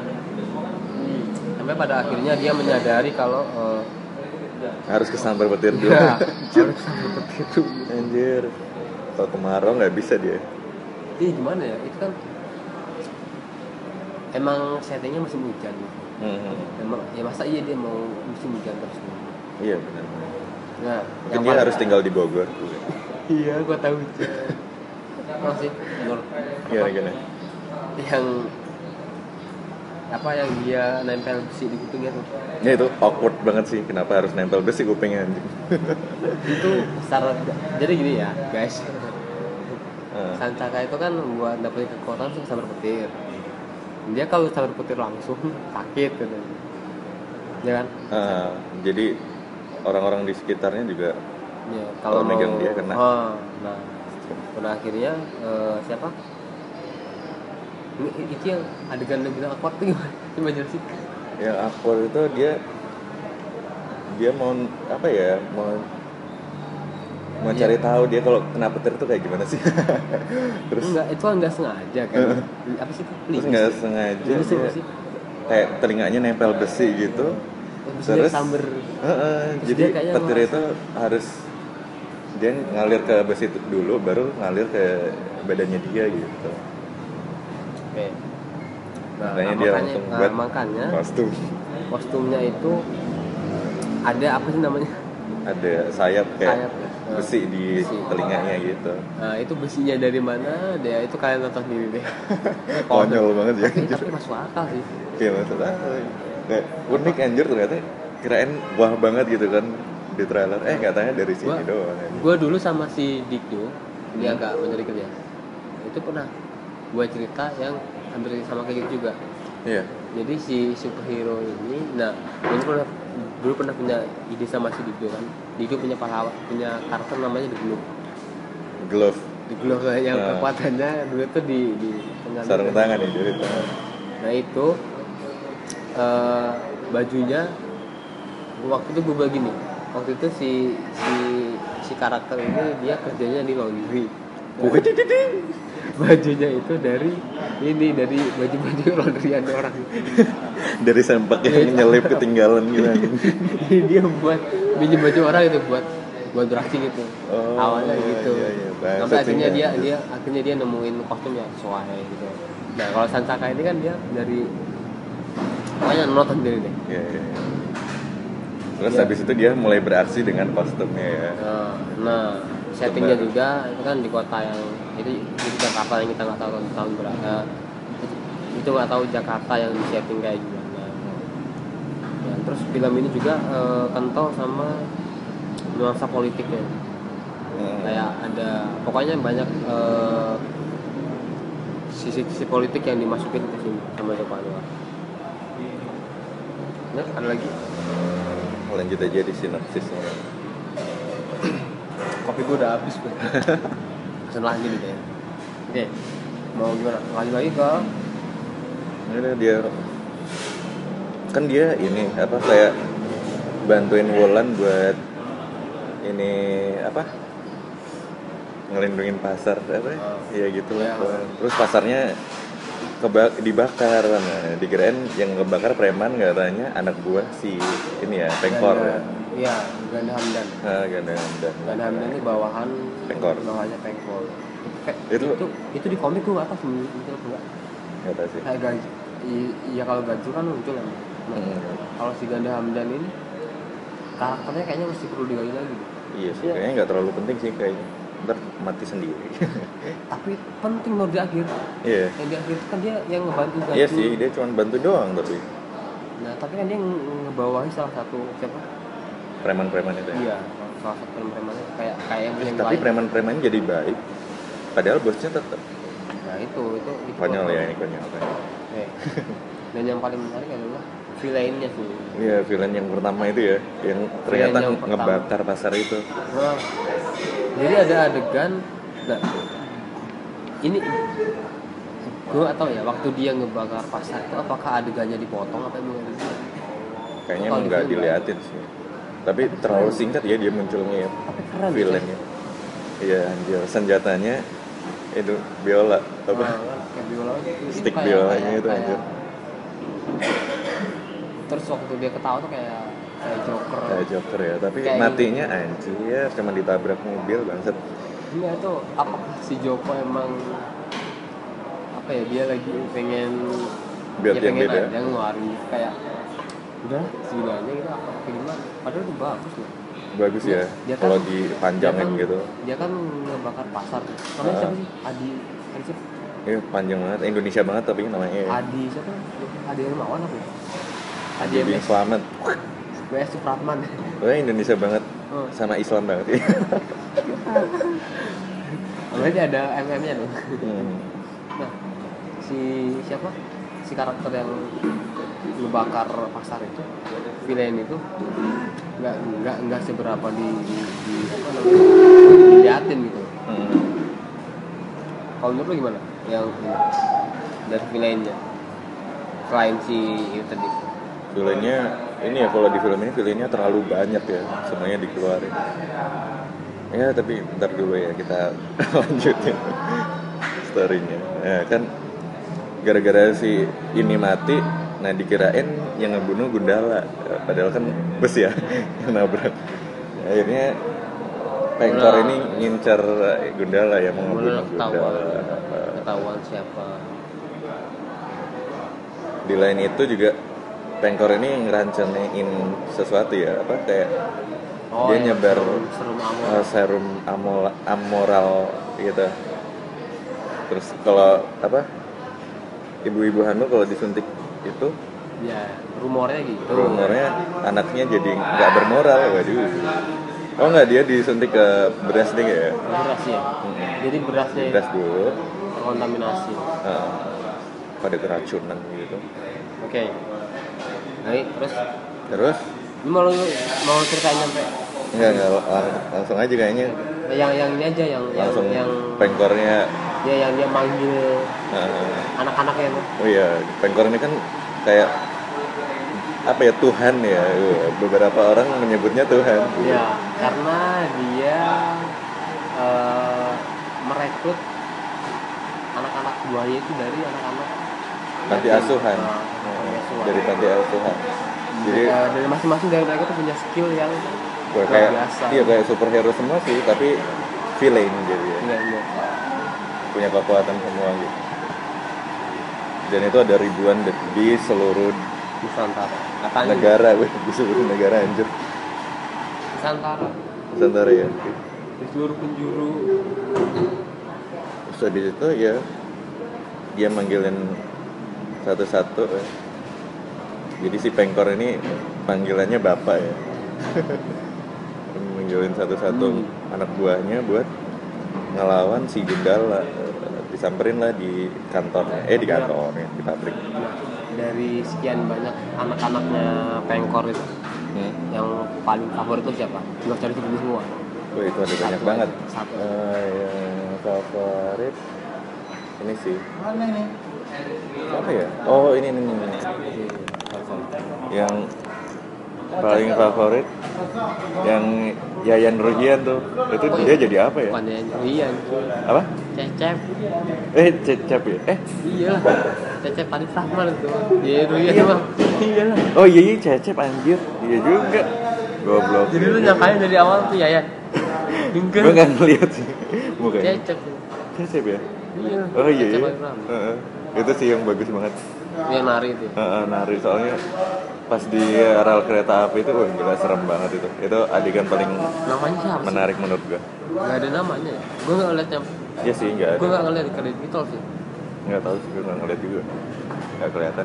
sampai pada akhirnya dia menyadari kalau eh,
Harus kesambar petir dulu. Gitu.
ya harus seperti itu
Anjir. Kalau kemarau nggak bisa dia.
*laughs* Ih gimana ya itu kan emang settingnya musim hujan
Mm-hmm.
emang ya masa iya dia mau musim hujan terus
Iya benar.
nah
Mungkin dia harus tinggal di Bogor.
*laughs* iya gua tahu itu masih menurut
Gimana gimana?
yang apa yang dia nempel besi di gitu. kupingnya tuh
Ya itu awkward banget sih. Kenapa harus nempel besi kupingnya anjing?
itu secara jadi gini ya guys
Eh. Ah,
Sancaka itu kan buat dapetin kekuatan langsung sabar petir dia kalau sabar petir langsung *laughs* sakit gitu ya kan
ah, jadi orang-orang di sekitarnya juga
ya,
Kalau
kalau mau-
megang dia kena.
Ah, nah pada akhirnya eh, siapa ini, itu yang adegan yang bilang akuat tuh gimana coba jelasin
yang ya, awkward itu dia dia mau apa ya mau mau
Iya.
cari tahu dia kalau kena petir itu kayak gimana
*laughs*
sih terus Eh.
enggak itu kan enggak sengaja kan apa iya sih itu
terus nggak sengaja
Lilis
dia
enggak sih
kayak telinganya nempel besi gitu
Habis Oh, dia
terus
samber
Heeh,
Terus
jadi
dia kayaknya
petir
ngerasa-
itu harus dia ngalir ke besi itu dulu baru ngalir ke badannya dia gitu
Oke. nah,
Makanya dia
makanya,
langsung
nah,
buat
makanya
kostum
kostumnya itu ada apa sih namanya
ada sayap kayak
Sayap, ya.
besi di
Besi.
telinganya gitu
nah itu besinya dari mana dia itu kalian tonton
*laughs*
sendiri deh
konyol banget ya *laughs*
tapi, tapi masuk akal sih
Iya maksud aku Kayak unik anjir ternyata kirain wah banget gitu kan di trailer eh katanya dari sini
Wah.
doang ya. ini.
gue dulu sama si Dikdo ini agak menyerikan ya itu pernah buat cerita yang hampir sama kayak gitu juga
iya
jadi si superhero ini nah dulu pernah dulu pernah punya ide sama si Dikdo kan Dikdo punya pahlawan punya karakter namanya The Glove
glove
The Glove yang
Nah.
kekuatannya dulu tuh di di tengah gitu.
sarung tangan ya jadi tangan.
nah itu eh, bajunya waktu itu gue begini waktu itu si si si karakter ini dia kerjanya di laundry Nah,
Wih, di- di- di.
bajunya itu dari ini dari baju-baju *laughs* laundryan orang
dari sempak
Iya.
yang nyelip ketinggalan gitu anjing.
Jadi dia buat pinjem baju orang itu buat buat dressing gitu
Oh,
awalnya
iya,
gitu
iya, iya. Bangsat
sampai akhirnya
sih,
dia
anjir.
dia akhirnya dia nemuin kostum yang sesuai gitu nah kalau Sansaka ini kan dia dari pokoknya nonton diri deh
Iya, iya, iya. terus
Iya.
habis itu dia mulai beraksi dengan kostumnya ya
Nah, nah, settingnya
Benar.
juga itu kan di kota yang itu itu Jakarta yang kita nggak tahu tahun, tahun berapa. Itu nggak tahu Jakarta yang di setting kayak gimana. Ya, terus film ini juga eh, kental sama nuansa politiknya.
Hmm.
Kayak ada pokoknya banyak eh, sisi-sisi politik yang dimasukin ke sini sama Joko Anwar. Nah, ada lagi
lanjut aja di sinopsisnya
kopi gue udah habis
*laughs*
gue pesen lagi nih kayaknya oke mau gimana lanjut lagi ke
Ini dia kan dia ini apa kayak bantuin Wulan buat ini apa ngelindungin pasar apa ya?
Ah.
Iya gitu lah.
Iya.
pokoknya. Terus pasarnya keba- dibakar kan. sama dikirain yang ngebakar preman katanya anak buah si ini ya pengkor ya.
iya Ganda Hamdan
Ah, ganda ganda.
Ganda Hamdan ini bawahan
Pengkor.
bawahannya pengkor Kayak
Itu-
itu itu di komik gue nggak tahu sih, muncul apa enggak
Nggak tahu sih.
kayak ganjil I- iya kalau ganjil kan muncul ya nah,
Hmm.
kalau si Ganda Hamdan ini karakternya kayaknya mesti perlu digali lagi
Iya sih, kayaknya nggak terlalu penting sih kayaknya. Ntar mati sendiri. *laughs*
tapi penting loh di akhir
Iya.
yang di akhir itu kan dia yang ngebantu ganjil
Iya sih, dia cuma bantu doang tapi
nah tapi kan dia nge- ngebawahi salah satu siapa
preman-preman itu. ya.
Iya, salah satu preman-premannya kayak kayak yang punya
tapi
klien.
preman-preman jadi baik padahal bosnya tetap
Nah itu itu itu.
konyol ya ini konyol konyol.
Eh. Dan yang paling menarik adalah villainnya sih.
iya villain yang pertama itu ya yang ternyata
yang pertama.
ngebakar pasar itu
Nah, jadi ada adegan. Nah, ini gue gak tau ya waktu dia ngebakar pasar itu apakah adegannya dipotong apa emang ada di-
kayaknya
Kalau
nggak
gitu,
diliatin sih tapi terlalu singkat ya dia munculnya ya
tapi keren
villainnya iya anjir senjatanya itu biola
apa
apa
Ah, kayak biola gitu. Itu
Stick
kayak-
biolanya
kayak-
itu, anjir.
kayak- terus waktu dia ketawa tuh kayak kayak joker
kayak joker ya tapi
ah. Kayak
matinya anjir cuma ditabrak mobil bangset
Iya itu apakah si Joko emang apa ya dia lagi pengen
Build yang beda. ya?
ada ngeluarin kayak udah sebenarnya gitu apa kayak gimana padahal itu bagus loh
bagus
Iya,
ya
dia
kalau
kan-
dipanjangin
dia kan-
gitu
dia kan ngebakar pasar namanya
Ah.
siapa sih Adi Adi siapa?
Iya panjang banget Indonesia banget tapi namanya ya.
Adi siapa Adi Hermawan apa ya Adi
Adi Bin
MS
Slamet.
WS Supratman *laughs*
Pokoknya Indonesia banget
Oh.
sama Islam banget. *laughs*
berarti ada MM nya dong
Hmm.
nah si siapa si karakter yang ngebakar pasar itu villain itu nggak nggak nggak seberapa di, di, di apa namanya diliatin gitu
Hmm.
kalau menurut lu gimana yang dari villainnya selain si itu tadi
Villainnya ini ya kalau di film ini villainnya terlalu banyak ya semuanya dikeluarin. Ya tapi ntar dulu ya kita *laughs* lanjutin storynya. Ya kan gara-gara si ini mati, nah dikirain yang ngebunuh Gundala, padahal kan bus ya *laughs* yang nabrak. Akhirnya Pengkor
Nah.
ini ngincer Gundala ya mau
mulai
ngebunuh
ketahuan
Gundala.
ketahuan siapa
di lain itu juga pengkor ini ngerancanain sesuatu ya apa kayak Dia
Oh, yang
nyebar-
serum, serum amor
eh, serum amol- amoral gitu terus kalau apa ibu-ibu hanu kalau disuntik itu
ya rumornya gitu
rumornya anaknya jadi nggak bermoral waduh oh nggak dia disuntik ke beras deh ya
beras ya jadi berasnya
beras dulu
terkontaminasi
Nah, pada keracunan gitu
oke baik terus
terus
ini mau mau ceritain sampai
nggak nggak lang- langsung aja kayaknya
yang yang ini aja yang yang
langsung
yang
pengkornya
ya yang dia manggil ya,
nah,
anak-anaknya itu
Oh iya, pengkor ini kan kayak apa ya Tuhan ya. Beberapa orang menyebutnya Tuhan.
ya karena dia eh, merekrut anak-anak buahnya itu dari anak-anak
Panti asuhan.
eh, panti asuhan.
Dari panti asuhan. Jadi
Eh, dari masing-masing dari mereka tuh punya skill yang
gue
luar
kayak
biasa
iya kayak superhero semua sih, tapi villain jadi ya.
Iya, iya.
punya kekuatan semua gitu. Dan itu ada ribuan di, di seluruh
Nusantara katanya
negara, *laughs* weh. di seluruh negara anjir.
Nusantara
Nusantara ya.
di seluruh penjuru
Terus habis itu ya dia manggilin satu-satu. ya. Jadi si pengkor ini panggilannya bapak ya. *laughs* manggilin satu-satu
Hmm.
anak buahnya buat ngelawan si Gundala. Disamperin lah di kantornya, eh di kantornya, di pabrik.
Nah, dari sekian banyak anak-anaknya pengkor itu yang paling favorit itu siapa? Nggak cari sebutin semua.
Wah itu ada banyak
Satu
banget.
aja, satu.
Eh, yang favorit ini sih. Apa ya? Oh ini ini. ini.
Iya,
yang paling favorit yang Yayan Ruhian tuh itu dia jadi apa ya
Bukan yang Rian,
apa
Cecep.
eh cecep ya eh
Iya lah. Cecep paling Rahman itu. Iya, Rian mah. Iya lah.
oh iya iya cecep anjir iya juga goblok
Jadi lu nyangkanya dari awal tuh ya ya. Enggak.
gue nggak ngeliat sih mukanya
Cecep.
cecep ya
Iya.
oh iya
Cecep
iya
paling Rahman.
Heeh. itu sih yang bagus banget
Yang nari itu.
Heeh, nari soalnya pas di rel kereta api itu wah gila serem banget itu itu adegan paling
Namanya siapa sih?
menarik menurut gue
Nggak ada namanya ya. Gue nggak liatnya.
iya sih nggak
Gue
ada
nggak ngeliat kredit itu sih.
nggak tahu sih gue nggak ngeliat juga nggak kelihatan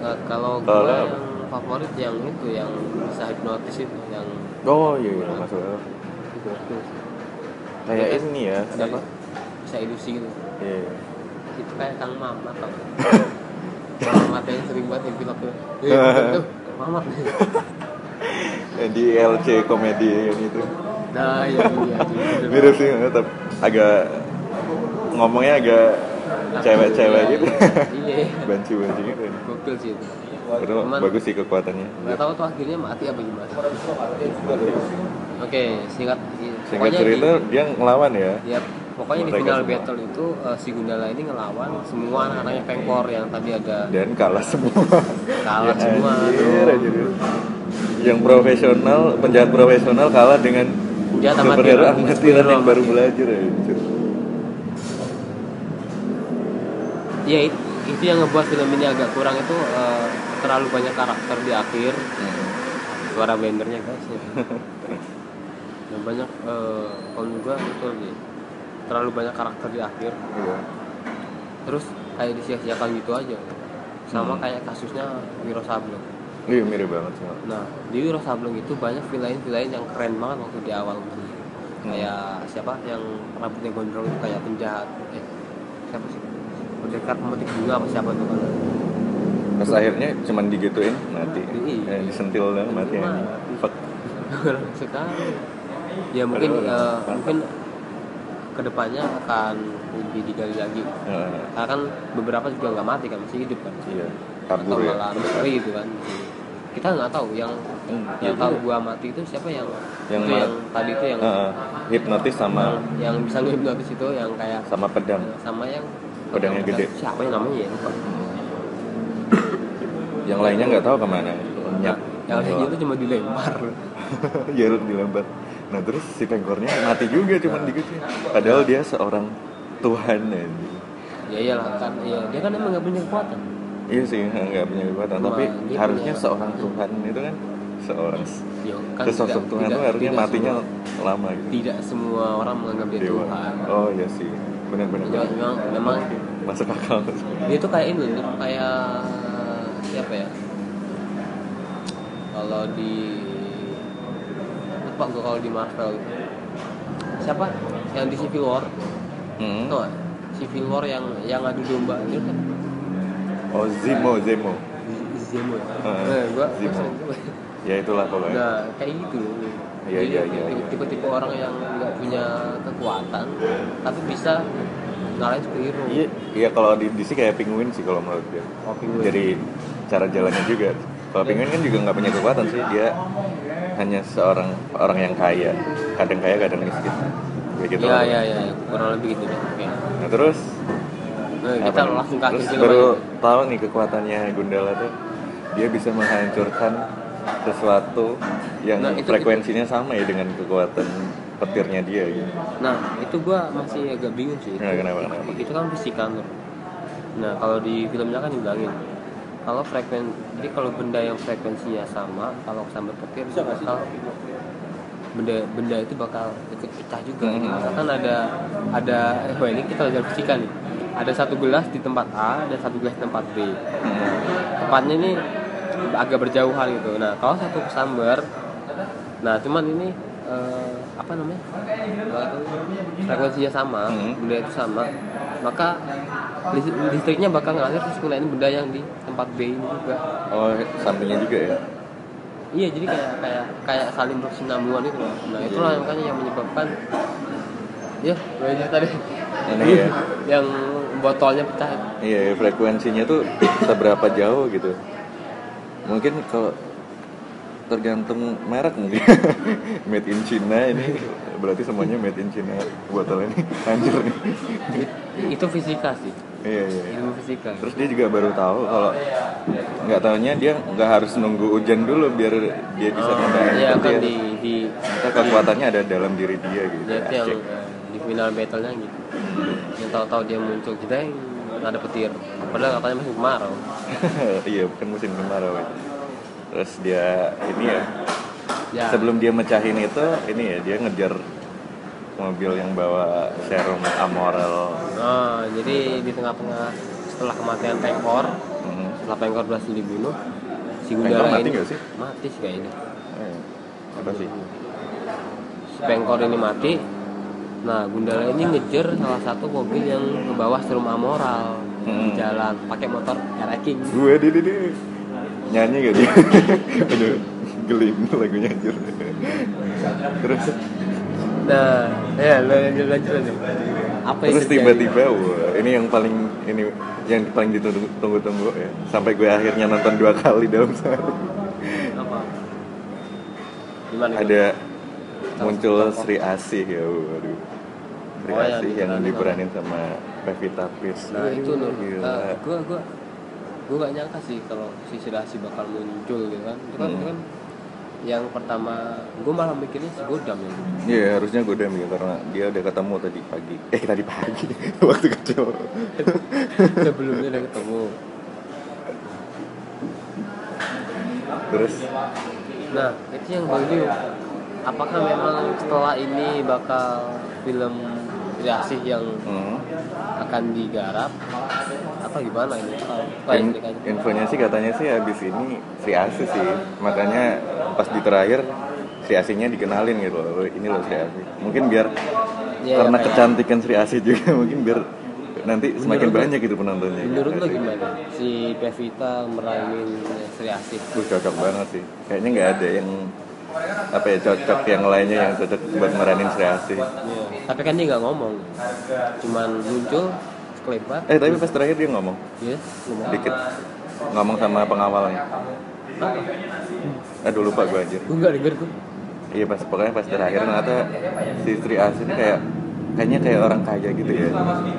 Nah, kalau gue
Kalau-
yang favorit yang itu yang bisa hipnotis itu yang
Oh iya iya masuk akal.
hipnotis.
Kayak ini ya siapa?
Bisa ilusi gitu.
Iya. iya.
Itu kayak Kang Mamat tau.
*laughs*
Kang Mamat yang sering banget yang pilok tuh. Eh, eh,
*laughs*
Mamat.
Yang Eh, di LC komedi yang itu
Nah, iya iya. iya.
mirip sih tetap agak ngomongnya agak cewek-cewek gitu.
Nah,
*laughs*
Iya. iya.
Banci-banci gitu.
Gokil sih itu.
Itu
Cuman-
bagus sih kekuatannya.
Gak tahu tuh akhirnya mati apa gimana. Oke, singkat
Singkat
pokoknya
cerita
di-
dia ngelawan ya.
Ya, pokoknya di
Mereka
final
semua.
battle itu eh, si Gundala ini ngelawan semua anak-anaknya pengkor yang tadi ada
Dan kalah semua. *laughs*
kalah semua.
Iya, Anjir, anjir. Yang profesional, penjahat profesional kalah dengan
Dia tamat
superhero
dia.
amatiran yang baru belajar ya. anjir.
Ya it- itu yang ngebuat film ini agak kurang itu eh, terlalu banyak karakter di akhir suara bendernya guys.
*laughs*
ya. Dan banyak eh, kalau juga betul sih terlalu banyak karakter di akhir
Iya.
terus kayak disia-siakan gitu aja sama
Hmm.
kayak kasusnya Wiro Sableng.
Iya mirip banget sama.
Nah, di Wiro Sableng itu banyak villain-villain yang keren banget waktu di awal tuh.
Hmm.
Kayak siapa yang rambutnya gondrong itu kayak penjahat. Eh, siapa sih? Pendekar pemetik bunga apa siapa *laughs* tuh kan?
Terus akhirnya cuman digituin mati.
Iya.
Eh, disentil dong mati
Iya.
anjing. Fuck.
Sekali. Ya mungkin
Aduh,
eh,
mantap.
mungkin kedepannya akan lebih digali lagi.
Heeh.
Karena kan beberapa juga nggak mati kan masih hidup kan.
Eh, iya.
Atau
Kabur ya.
malah misteri gitu kan. Kita nggak tahu yang
Hmm, iya
yang tahu
juga.
gua mati itu siapa yang
Yang
itu
ma-
yang tadi itu yang
Heeh. hipnotis sama
yang bisa gue hipnotis itu yang kayak eh,
sama pedang
sama yang
Pedangnya gede.
siapa yang namanya ya lupa
yang lainnya nggak tahu kemana
ya
lenyap
yang lainnya
*laughs*
itu cuma dilempar
Jarut di lembar nah terus si pengkornya mati juga
Nah.
cuman digituin padahal dia seorang Tuhan anjing.
ya iyalah kan ya dia kan emang gak punya kekuatan
iya sih nggak punya kekuatan tapi
Wah, dia
harusnya
punya-
seorang Tuhan itu kan seorang
ya Nah, gitu kan
sesosok
tidak-
Tuhan
tidak-
itu harusnya
tidak
matinya
semua,
lama gitu
tidak semua orang menganggap dia
dewa
Tuhan Iya.
oh iya sih benar-benar
Ya, memang memang
masuk akal
dia tuh kayak ini tuh kayak siapa ya kalau di lupa gue kalau di Marvel siapa yang di Civil War
Hmm.
Tau nggak? Civil War yang yang ngadu domba itu kan
Oh Zemo Zemo.
Zemo ya
Heeh,
nah, gua, gua
Zemo.
sering
Ya itulah pokoknya.
nah kayak gitu
Iya,
Jadi,
iya, iya, iya.
tipe-tipe orang yang nggak punya kekuatan tapi bisa ngalahin superhero
Iya iya kalau di DC kayak penguin sih kalau menurut gue.
Kopi gue.
Jadi cara jalannya juga. Kalau penguin kan juga nggak punya kekuatan sih dia hanya seorang orang yang kaya. Kadang kaya kadang miskin. Ya gitu.
Iya
lah.
iya iya ya, kurang lebih gitu deh. Oke.
Nah terus
Nah, kita
apa nih?
langsung ke
Iya.
akhir
Terus
film
baru
aja.
tahu nih kekuatannya Gundala tuh dia bisa menghancurkan sesuatu yang
Nah, itu-
frekuensinya sama ya dengan kekuatan petirnya dia gitu.
Nah itu gua masih agak bingung sih.
Nah, kenapa, kenapa?
Itu kan fisika tuh. Nah kalau di filmnya kan dibilangin kalau frekuensi jadi kalau benda yang frekuensinya sama kalau sampai petir itu bakal benda benda itu bakal ikut pecah juga
Mhm.
misalkan ada ada eh, wah ini kita belajar fisika nih ada satu gelas di tempat A ada satu gelas di tempat B tempatnya ini agak berjauhan gitu. Nah, kalau satu kesambar, nah cuman ini eh, apa namanya Eh, frekuensinya sama,
Hmm.
benda itu sama, maka listrik- listriknya bakal ngalir terus ngunain benda yang di tempat B ini juga.
Oh sampingnya juga ya.
Iya, jadi kayak kayak kayak saling bersinambungan itu loh. Nah, itulah
Iya.
makanya yang menyebabkan ya, kayaknya tadi
Ini ya.
*laughs* yang botolnya pecah.
Iya ya, frekuensinya tuh *coughs* seberapa jauh gitu. Mungkin kalau tergantung merek mungkin *laughs* made in China ini berarti semuanya made in China botol ini *laughs* hancur nih.
Itu fisika sih,
Iya iya. iya.
ilmu fisika.
Terus dia juga baru tahu kalau nggak tahunya dia nggak harus nunggu hujan dulu biar dia bisa
Ah,
ngedain
iya kan
petir.
di di
Ternyata kekuatannya ada dalam diri dia gitu.
dia itu yang
Asik.
eh, di final battle-nya gitu. Yang tahu-tahu dia muncul jedeng ada petir. Padahal katanya masih kemarau.
*laughs* Iya, bukan musim kemarau. ya. Terus dia ini ya,
Ya.
sebelum dia mecahin itu, ini ya dia ngejar mobil yang bawa serum amoral.
Nah, jadi di tengah-tengah setelah kematian Pengkor,
Hmm.
setelah Pengkor berhasil dibunuh, si
Pengkor
Gundala
mati
ini
nggak sih?
mati sih kayaknya.
Eh, apa sih?
Si Pengkor ini mati. Nah, Gundala ini ngejar salah satu mobil yang ke bawah serum amoral
Hmm.
di jalan pakai motor RX King.
Gue di di di. nyanyi gak dia? *laughs* Aduh, gelim lagunya anjir. Terus
Nah, ya lanjut lanjut lanjut. Apa yang
terus
terjadi?
tiba-tiba wah, ini yang paling ini yang paling ditunggu-tunggu ya. Sampai gue akhirnya nonton dua kali dalam sehari.
apa gimana
ada muncul Sri Asih ya waduh Sri
Oh, yang
Asih yang
diperanin
diperanin sama Pevita Pierce
nah itu
Waduh,
loh
gila.
gue gue gue gak nyangka sih kalau si Sirasi bakal muncul gitu kan itu kan,
Hmm.
itu kan yang pertama gue malah mikirnya si Godam
*laughs*
ya
Iya harusnya gue ya karena dia udah ketemu tadi pagi Eh tadi pagi *laughs* waktu kecil
sebelumnya udah ketemu
Terus
nah itu yang gue bingung apakah memang setelah ini bakal film Sirasi yang
hmm,
akan digarap apa gimana ini Apa- apa
in-
explicitnya?
infonya sih katanya sih habis ini Sri Asih sih Makanya pas di terakhir Sri Asihnya dikenalin gitu loh Ini loh Sri Asih Mungkin biar
Iya,
karena
kayak-
kecantikan Sri Asih juga *laughs* mungkin biar nanti semakin
Menurut lo-
banyak gitu penontonnya
Menurut lo
Asik.
gimana? Si Pevita meranin Sri Asih
Wih cocok banget sih. Kayaknya nggak ada yang apa ya cocok yang lainnya yang cocok buat meranin Sri Asih.
Iya. Tapi kan dia nggak ngomong Cuman muncul Sekelebat
Eh tapi pas terakhir dia ngomong
Ya ngomong
dikit ngomong sama pengawalnya.
Apa?
Aduh lupa gue aja.
Gue nggak denger gue
Iya pas pokoknya pas terakhir ternyata si Sri Asih ini kayak kayaknya kayak orang kaya gitu ya.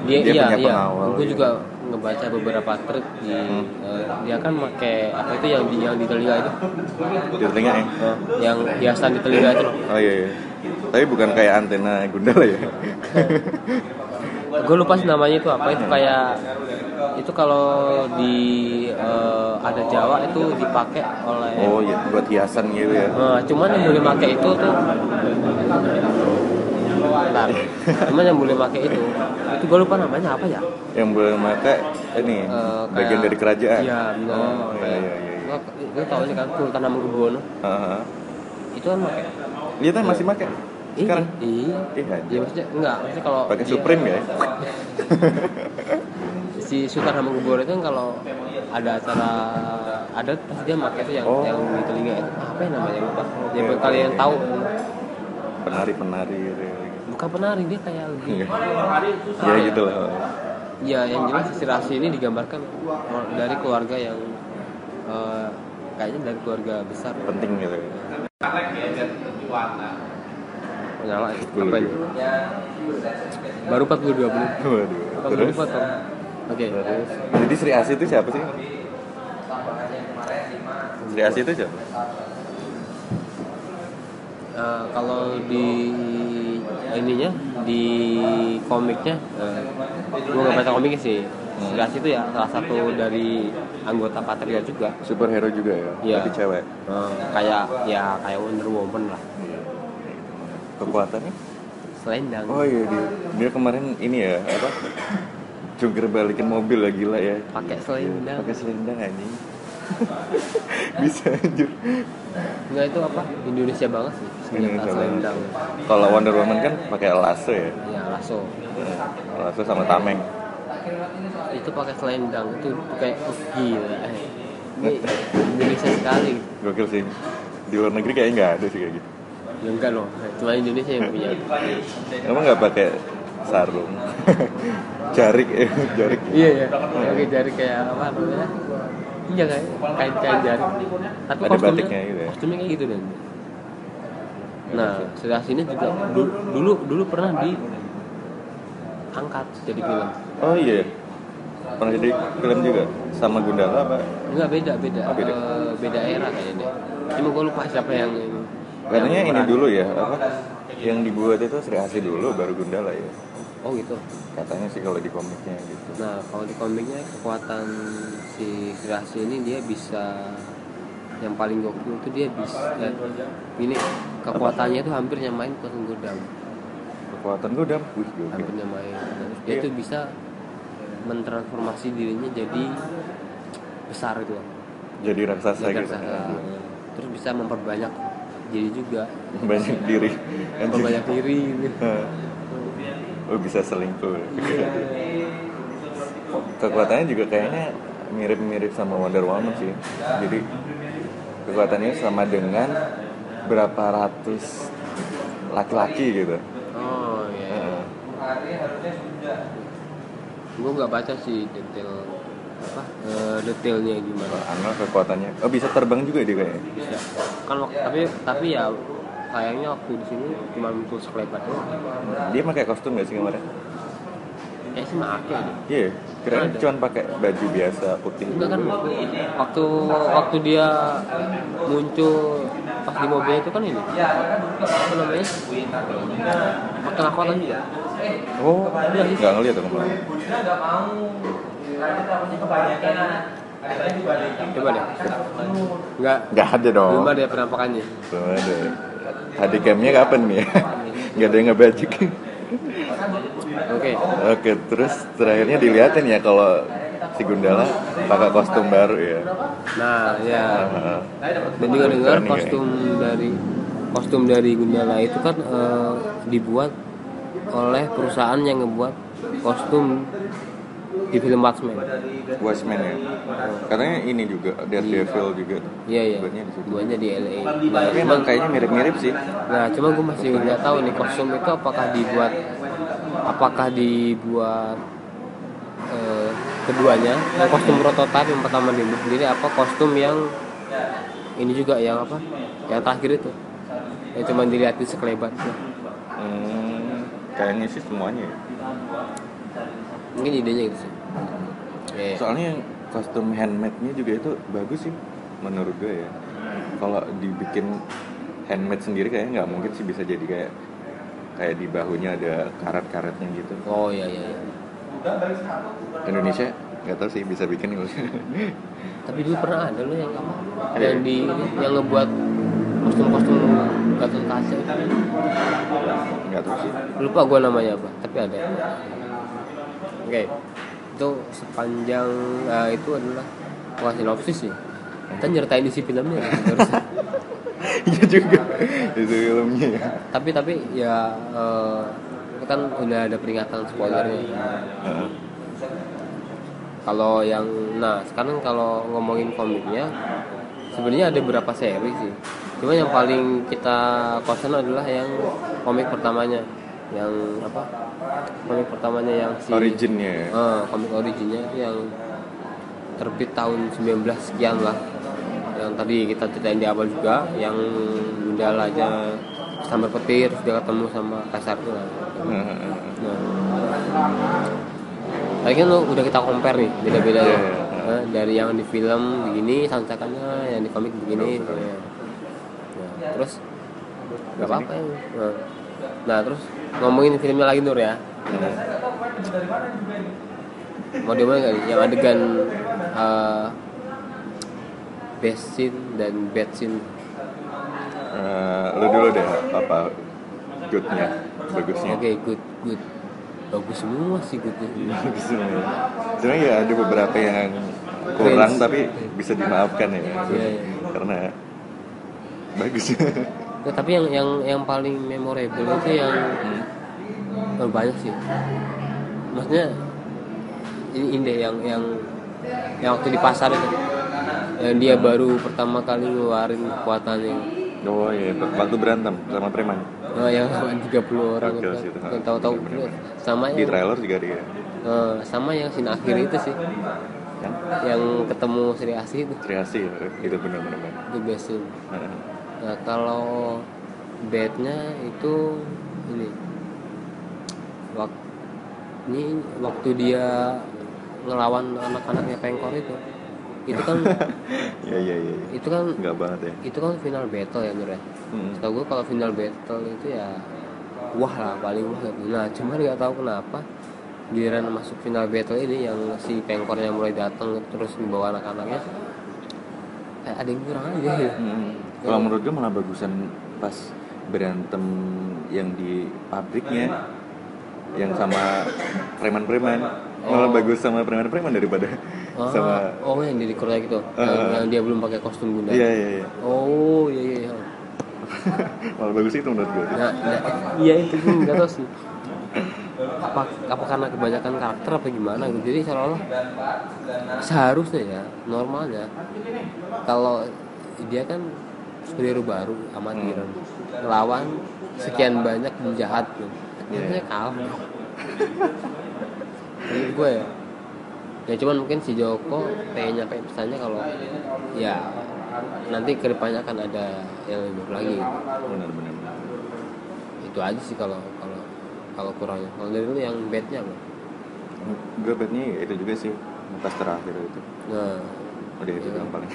Dia, iya,
punya
iya.
pengawal. Hmm.
Gue
gitu.
juga ngebaca beberapa trik di eh, dia kan pakai apa itu yang di yang di telinga itu,
Di telinga ya.
Eh, yang hiasan di telinga itu loh.
Oh iya, iya. Tapi bukan kayak antena Gundala
*laughs*
ya.
gue lupa sih namanya itu apa itu kayak itu kalau di eh, ada Jawa itu dipakai oleh
Oh
Eh,
iya, buat hiasan gitu ya.
Nah, cuman yang boleh pakai itu tuh Bentar. Cuman yang boleh pakai itu, itu gue lupa namanya apa ya?
yang boleh memakai ini
Eh, kayak-
bagian dari kerajaan
Iya, benar.
oh iya
Kayak-
iya iya iya.
Lo- Lo tau sih kan Sultan Hamengkubuwono
Aha.
itu kan pakai.
Iya kan masih pakai
Iya,
sekarang
Iya.
Iya,
Iya maksudnya enggak, maksudnya kalau
pakai
dia-
Supreme nggak ya
*laughs* si Sultan Hamengkubuwono itu kan kalau ada acara adat pasti dia pakai itu yang
Oh.
yang di telinga itu. Apa ya namanya lupa. Ya
Iya,
buat
iya,
kalian
iya.
tahu
penari penari gitu ya.
bukan penari dia kayak lebih
Iya. ya gitu lah
Ya yang jelas si Rasi ini digambarkan dari keluarga yang eh, kayaknya dari keluarga besar.
penting gitu *laughs*
Nyala ya. Apa ini? Baru 42 menit.
waduh
42
terus
potong. Oke.
terus jadi Sri Asi itu siapa sih Sri Asi itu siapa
Eh, kalau di ininya di komiknya eh, gua nggak baca komiknya sih. Si
Hmm.
Rasi itu ya salah satu dari anggota Patria juga.
superhero juga ya
Iya.
tapi cewek
Eh, kayak ya kayak Wonder Woman lah.
Iya. kekuatannya
Selendang.
oh iya dia dia kemarin ini ya apa jungkir balikin mobil lah gila ya
Pakai
Iya,
selendang.
pakai selendang anjing *laughs* bisa anjir
Enggak itu apa? Indonesia banget sih. Senjata
Indonesia banget.
selendang.
kalau Wonder Woman kan pakai lasso ya
Ya lasso.
Hmm, lasso sama tameng
Itu pakai selendang. Itu kayak oh, gila. eh. Ini Indonesia sekali.
gokil sih di luar negeri kayaknya nggak ada sih kayak gitu
Ya enggak loh. Cuma Indonesia yang punya.
emang nggak pakai sarung *laughs* jarik eh jarik
iya ya. Oke jari kayak apa namanya? Iya kayak kain kain jari. Tapi
Ada
kostumnya,
batiknya gitu ya?
kostumnya kayak gitu dan. Nah, setelah sini juga du- dulu dulu pernah diangkat jadi film.
oh iya pernah jadi film juga sama Gundala apa
Enggak beda beda
Oh, beda. Iya.
Eh, beda era kayaknya. Cuma gue lupa siapa yang yang
katanya ini
peran.
dulu ya apa yang dibuat itu Sri Asi dulu baru Gundala ya
Oh gitu.
katanya sih kalau di komiknya gitu
Nah kalau di komiknya kekuatan si Kirasi ini dia bisa yang paling gokil itu dia bisa eh, ini kekuatannya itu hampir nyamain kekuatan Godam
kekuatan gue udah wih gokil
hampir nyamain Nah, dia
Iya.
itu bisa mentransformasi dirinya jadi besar gitu loh
jadi raksasa
Jadi
gitu
raksasa. terus bisa memperbanyak diri juga
*laughs* banyak diri Anjing. *laughs*
memperbanyak diri gitu.
oh bisa selingkuh kekuatannya juga kayaknya mirip-mirip sama Wonder Woman sih jadi kekuatannya sama dengan berapa ratus laki-laki gitu
oh iya
Heeh.
gue nggak baca sih detail apa eh, detailnya gimana
Angel kekuatannya oh bisa terbang juga dia kayaknya
Ya, kan waktu, tapi tapi ya sayangnya waktu di sini cuma muncul sekelebat doang.
dia pakai kostum gak sih kemarin
Kayaknya sih make deh.
iya kirain cuma pakai baju biasa putih
Enggak kan waktu waktu waktu dia muncul pas di mobil itu kan ini. Apa namanya? kan? Tengah kota juga.
oh nggak ngeliat aku kemarin
Coba deh. Enggak.
nggak ada dong
Belum ada ya penampakannya.
Belum ada. Tadi camnya kapan
*laughs*
nih? Gak ada yang ngebajik.
Oke.
Oke, terus terakhirnya diliatin ya kalau si Gundala pakai kostum baru ya.
Nah, ya.
Heeh.
Dan juga dengar
Keren nih
kostum dari kostum dari Gundala itu kan eh, dibuat oleh perusahaan yang ngebuat kostum di film Watchmen.
kayaknya. Watchmen ya. Katanya ini juga Daredevil juga.
Iya iya.
Buatnya di situ.
Buatnya di LA. Nah,
Tapi
cuman
emang kayaknya mirip-mirip sih.
nah cuma gue masih nggak tahu nih kostum itu apakah dibuat apakah dibuat eh, keduanya yang kostum prototipe yang pertama dibuat sendiri apa kostum yang ini juga yang apa yang terakhir itu yang cuma dilihatin sekelebat
Hmm, kayaknya sih semuanya. ya.
mungkin idenya gitu sih Iya, iya.
Soalnya yang kostum handmade-nya juga itu bagus sih menurut gue ya. Kalau dibikin handmade sendiri kayaknya nggak mungkin sih bisa jadi kayak kayak di bahunya ada karat-karatnya gitu.
oh iya iya iya.
Indonesia nggak tahu sih *laughs* bisa bikin gue.
tapi dulu pernah ada loh yang apa
Ada
yang
ya?
di yang ngebuat kostum-kostum Gatot Kaca itu.
nggak tahu sih *laughs*
lupa gua namanya apa tapi ada oke itu sepanjang eh, itu adalah bukan sinopsis sih kita nyeritain isi filmnya *laughs* ya, harusnya.
iya juga itu filmnya ya
tapi tapi ya eh, kan udah ada peringatan spoilernya
Heeh.
kalau yang nah sekarang kalau ngomongin komiknya sebenarnya ada beberapa seri sih cuma yang paling kita concern adalah yang komik pertamanya yang apa komik pertamanya yang si
originnya ya
Eh, komik originnya itu yang terbit tahun 19 sekian lah yang tadi kita ceritain di awal juga yang Gundala aja sambar petir sudah ketemu sama kasar tuh
Heeh.
Nah. Tadi kan lo udah kita compare nih beda-beda
Iya,
ya.
iya, iya.
Eh, dari yang di film begini sancakannya, yang di komik
Iya,
begini. gitu ya. Nah, terus nggak apa-apa ya. Nah. Nah, terus ngomongin filmnya lagi Nur ya. Mau di mana nggak nih? Yang adegan eh best scene dan bad scene.
Eh, lu dulu deh apa goodnya bagusnya
Oke, good, good. Bagus semua sih goodnya.
bagusnya sebenarnya ya ada beberapa yang kurang
Cringe.
tapi bisa dimaafkan ya
iya.
karena bagus
Ya, tapi yang yang yang paling memorable itu yang oh, banyak sih. Maksudnya ini ini deh yang yang yang waktu di pasar itu yang dia baru pertama kali ngeluarin kekuatannya
oh iya waktu berantem sama preman
Nah, yang sama 30 orang
Gokil
itu
sih itu.
yang tahu-tahu
Bener-bener.
sama
di
yang
trailer juga dia
eh, sama yang sin akhir itu sih
kan
yang ketemu Sri Asih itu
Triasi ya, itu benar-benar
di besin Nah kalau bednya itu ini waktu ini waktu dia ngelawan anak-anaknya pengkor itu itu kan
ya ya ya ya.
itu kan
nggak banget ya
itu kan final battle ya Nur ya
Hmm.
setahu gue kalau final battle itu ya wah lah paling wah gitu. nah cuman nggak tahu kenapa giliran masuk final battle ini yang si pengkornya mulai datang terus membawa anak-anaknya eh, ada yang kurang aja ya
Hmm. Kalau menurut gue malah bagusan pas berantem yang di pabriknya yang sama preman-preman malah bagus sama preman-preman daripada
Ah,
sama Eh,
oh yang di Korea gitu yang, yang dia belum pakai kostum bunda
iya iya iya
oh iya iya iya
malah bagus itu menurut gue
nah, nah, iya itu gue nggak tahu sih apa apa karena kebanyakan karakter apa gimana gitu jadi seolah-olah seharusnya ya normalnya kalau dia kan superhero baru amatiran lawan sekian banyak penjahat tuh
Iya.
Harusnya kalah Menurut gue ya ya cuman mungkin si Joko pengen nyampe pesannya kalau ya nanti kedepannya akan ada yang lebih baik lagi gitu
benar-benar
itu aja sih kalau kalau kalau kurangnya kalau dari lu yang bednya apa
gue bednya ya itu juga sih pas terakhir itu
nah
udah itu yang
*laughs*
paling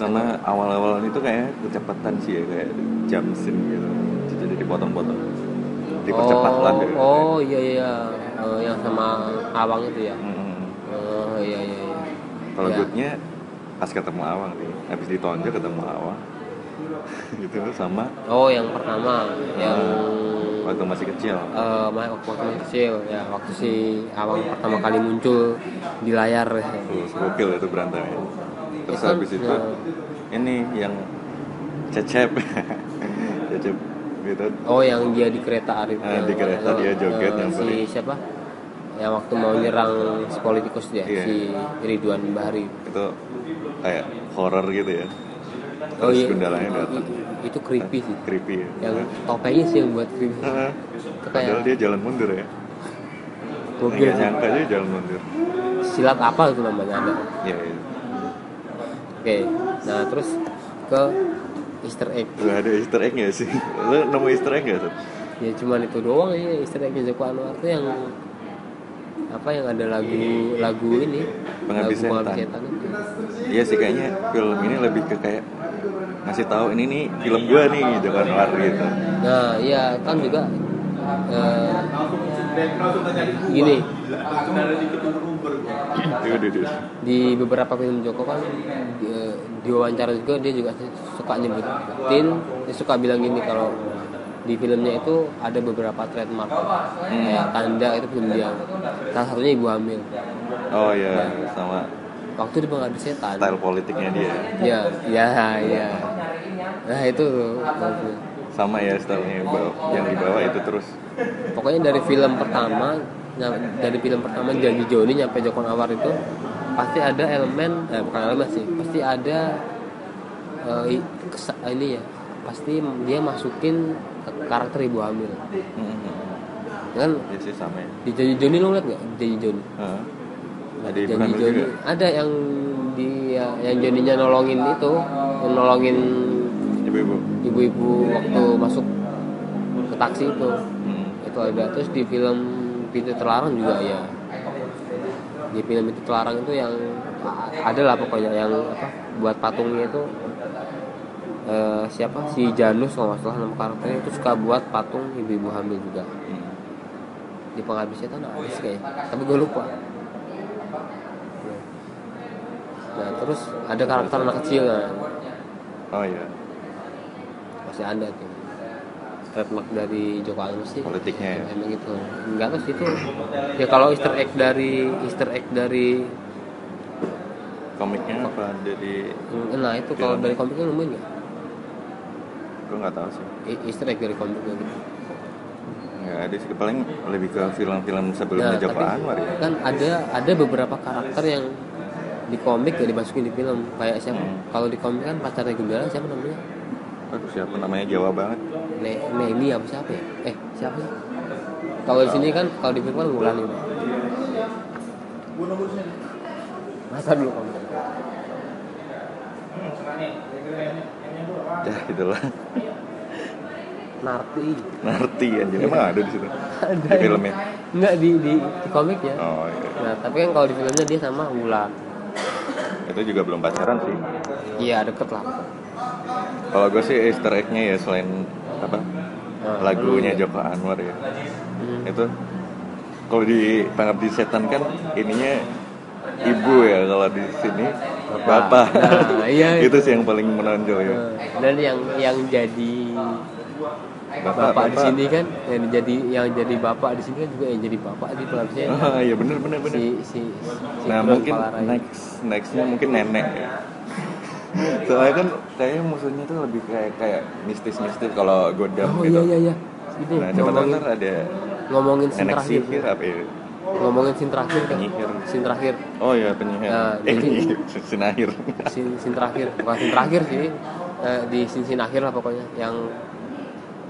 sama awal-awal itu kayak kecepatan sih ya kayak jam scene gitu jadi dipotong-potong dipercepat
oh,
lah gitu.
oh iya iya Eh, yang sama awang itu ya
Mm-mm.
oh iya iya, iya.
Kalau
Ya.
goodnya pas ketemu Awang sih, habis ditonjol ketemu Awang. *laughs* gitu sama
oh yang pertama yang
waktu masih kecil.
eh ma- waktu masih kecil ya waktu si awang pertama kali muncul di layar
Terus gokil itu berantem. ya. Terus
Itu,
habis itu
ya.
ini yang cecep. *laughs* cecep gitu.
oh yang dia di kereta Arif
Ah,
yang-
di kereta
eh,
dia joget
eh, si
nyamperin.
siapa yang waktu mau nyerang si politikus dia
Iya.
si Ridwan Bahari
Itu kayak horror gitu ya. Terus
Oh iya.
gundalanya datang.
I- i- Itu creepy sih.
Creepy ya.
Yang topengnya sih yang buat creepy.
Ah,
Itu
Padahal
kayak
dia jalan mundur ya.
gokil.
Nggak nyangka aja jalan mundur.
Silat apa itu namanya ada.
Ya, ya.
Oke. Nah, terus ke Easter egg.
Lu ada easter egg gak sih? *laughs* Lu nemu easter egg gak Sat?
Ya cuman itu doang ya Easter eggnya Joko Anwar tuh yang apa yang ada lagu lagu ini
Pengabdi
lagu
Setan.
pengabdi setan itu.
Iya sih kayaknya film ini lebih ke kayak ngasih tahu ini nih film gua nih Joko Anwar gitu. *clears throat*
nah iya kan juga eh, gini
Yaudah, yaudah.
di beberapa film Joko kan dia- diwawancara juga dia juga suka nyebutin dia suka bilang gini kalau di filmnya itu ada beberapa trademark kayak tanda itu film dia salah satunya ibu hamil
Oh iya, sama
waktu di pengabdi setan
style politiknya dia.
ya ya ya nah itu tuh.
Sama ya stylenya yang dibawa- yang dibawa itu terus.
pokoknya dari film pertama nya- dari film pertama janji Joni nyampe Joko Nawar itu pasti ada elemen eh, bukan elemen sih pasti ada eh, i- kes- ini ya pasti dia masukin karakter ibu hamil
Mm-mm.
kan
Iya sih sama ya.
di janji Joni lo liat nggak di janji Joni
Heeh.
Nah,
Ada ibu
janji
hamil
Joni
juga.
ada yang dia yang Joninya nolongin itu yang nolongin
Ibu-ibu.
ibu-ibu waktu masuk ke taksi itu
Mm.
itu ada terus di film pintu terlarang juga ya di film pintu terlarang itu yang a- ada lah pokoknya yang apa buat patungnya itu eh, siapa si Janus kalau nggak salah nama karakternya itu suka buat patung ibu-ibu hamil juga
Mm.
di penghabis setan ada sih kayaknya tapi gue lupa nah terus ada karakter anak kecil kan
Oh iya,
masih ada tuh trademark dari Joko Anwar sih
politiknya ya.
emang gitu nggak terus itu ya kalau Easter egg dari Easter egg dari
Komiknya apa dari
hmm, nah itu kalau dari komiknya nemuin nggak
gue nggak tahu sih.
E- Easter egg dari komiknya gitu
Nggak ada sih. Paling lebih ke film-film sebelumnya Joko Anwar ya.
Nah, kan ada ada beberapa karakter yang di komik gak dimasukin di film kayak siapa kalau di komik kan pacarnya Gundala siapa namanya
Aduh siapa namanya Jawa banget.
ne Neni apa siapa ya eh siapa sih kalau di sini kan kalau di film kan Wulan itu masa dulu komik
Ya *laughs* gitulah.
Narti
Narti anjir emang ada di situ.
Ada.
Di filmnya.
nggak di, di di komiknya
Oh iya.
nah tapi kan kalau di filmnya dia sama Wulan
Itu juga belum pacaran sih.
iya deket lah
Kalau gue sih Easter egg-nya ya selain apa lagunya Joko Anwar ya.
Hmm.
Itu kalau di Pengabdi Setan kan ininya ibu ya kalau di sini bapak.
*laughs* Nah, iya.
itu sih yang paling menonjol ya.
Nah, dan yang yang jadi bapak, di sini kan yang jadi yang jadi bapak di sini kan juga yang jadi bapak di pelabisnya
Ah, iya bener bener bener.
si si, si
nah
Kulon
mungkin
Palarayu.
next nextnya mungkin nenek
*laughs*
ya soalnya kan kayaknya musuhnya tuh lebih kayak kayak mistis mistis kalau godam
oh
gitu
iya iya iya ini
nah coba
ngomongin
ntar ada
ngomongin sin
nenek
terakhir
sihir apa ya
ngomongin sin terakhir kan
Penyihir.
sin terakhir
oh iya penyihir
Nah,
eh
jadi-
*laughs* penyihir
*laughs*
sinahir
sin, sin terakhir bukan sin terakhir sih Eh, di sin sin akhir lah pokoknya yang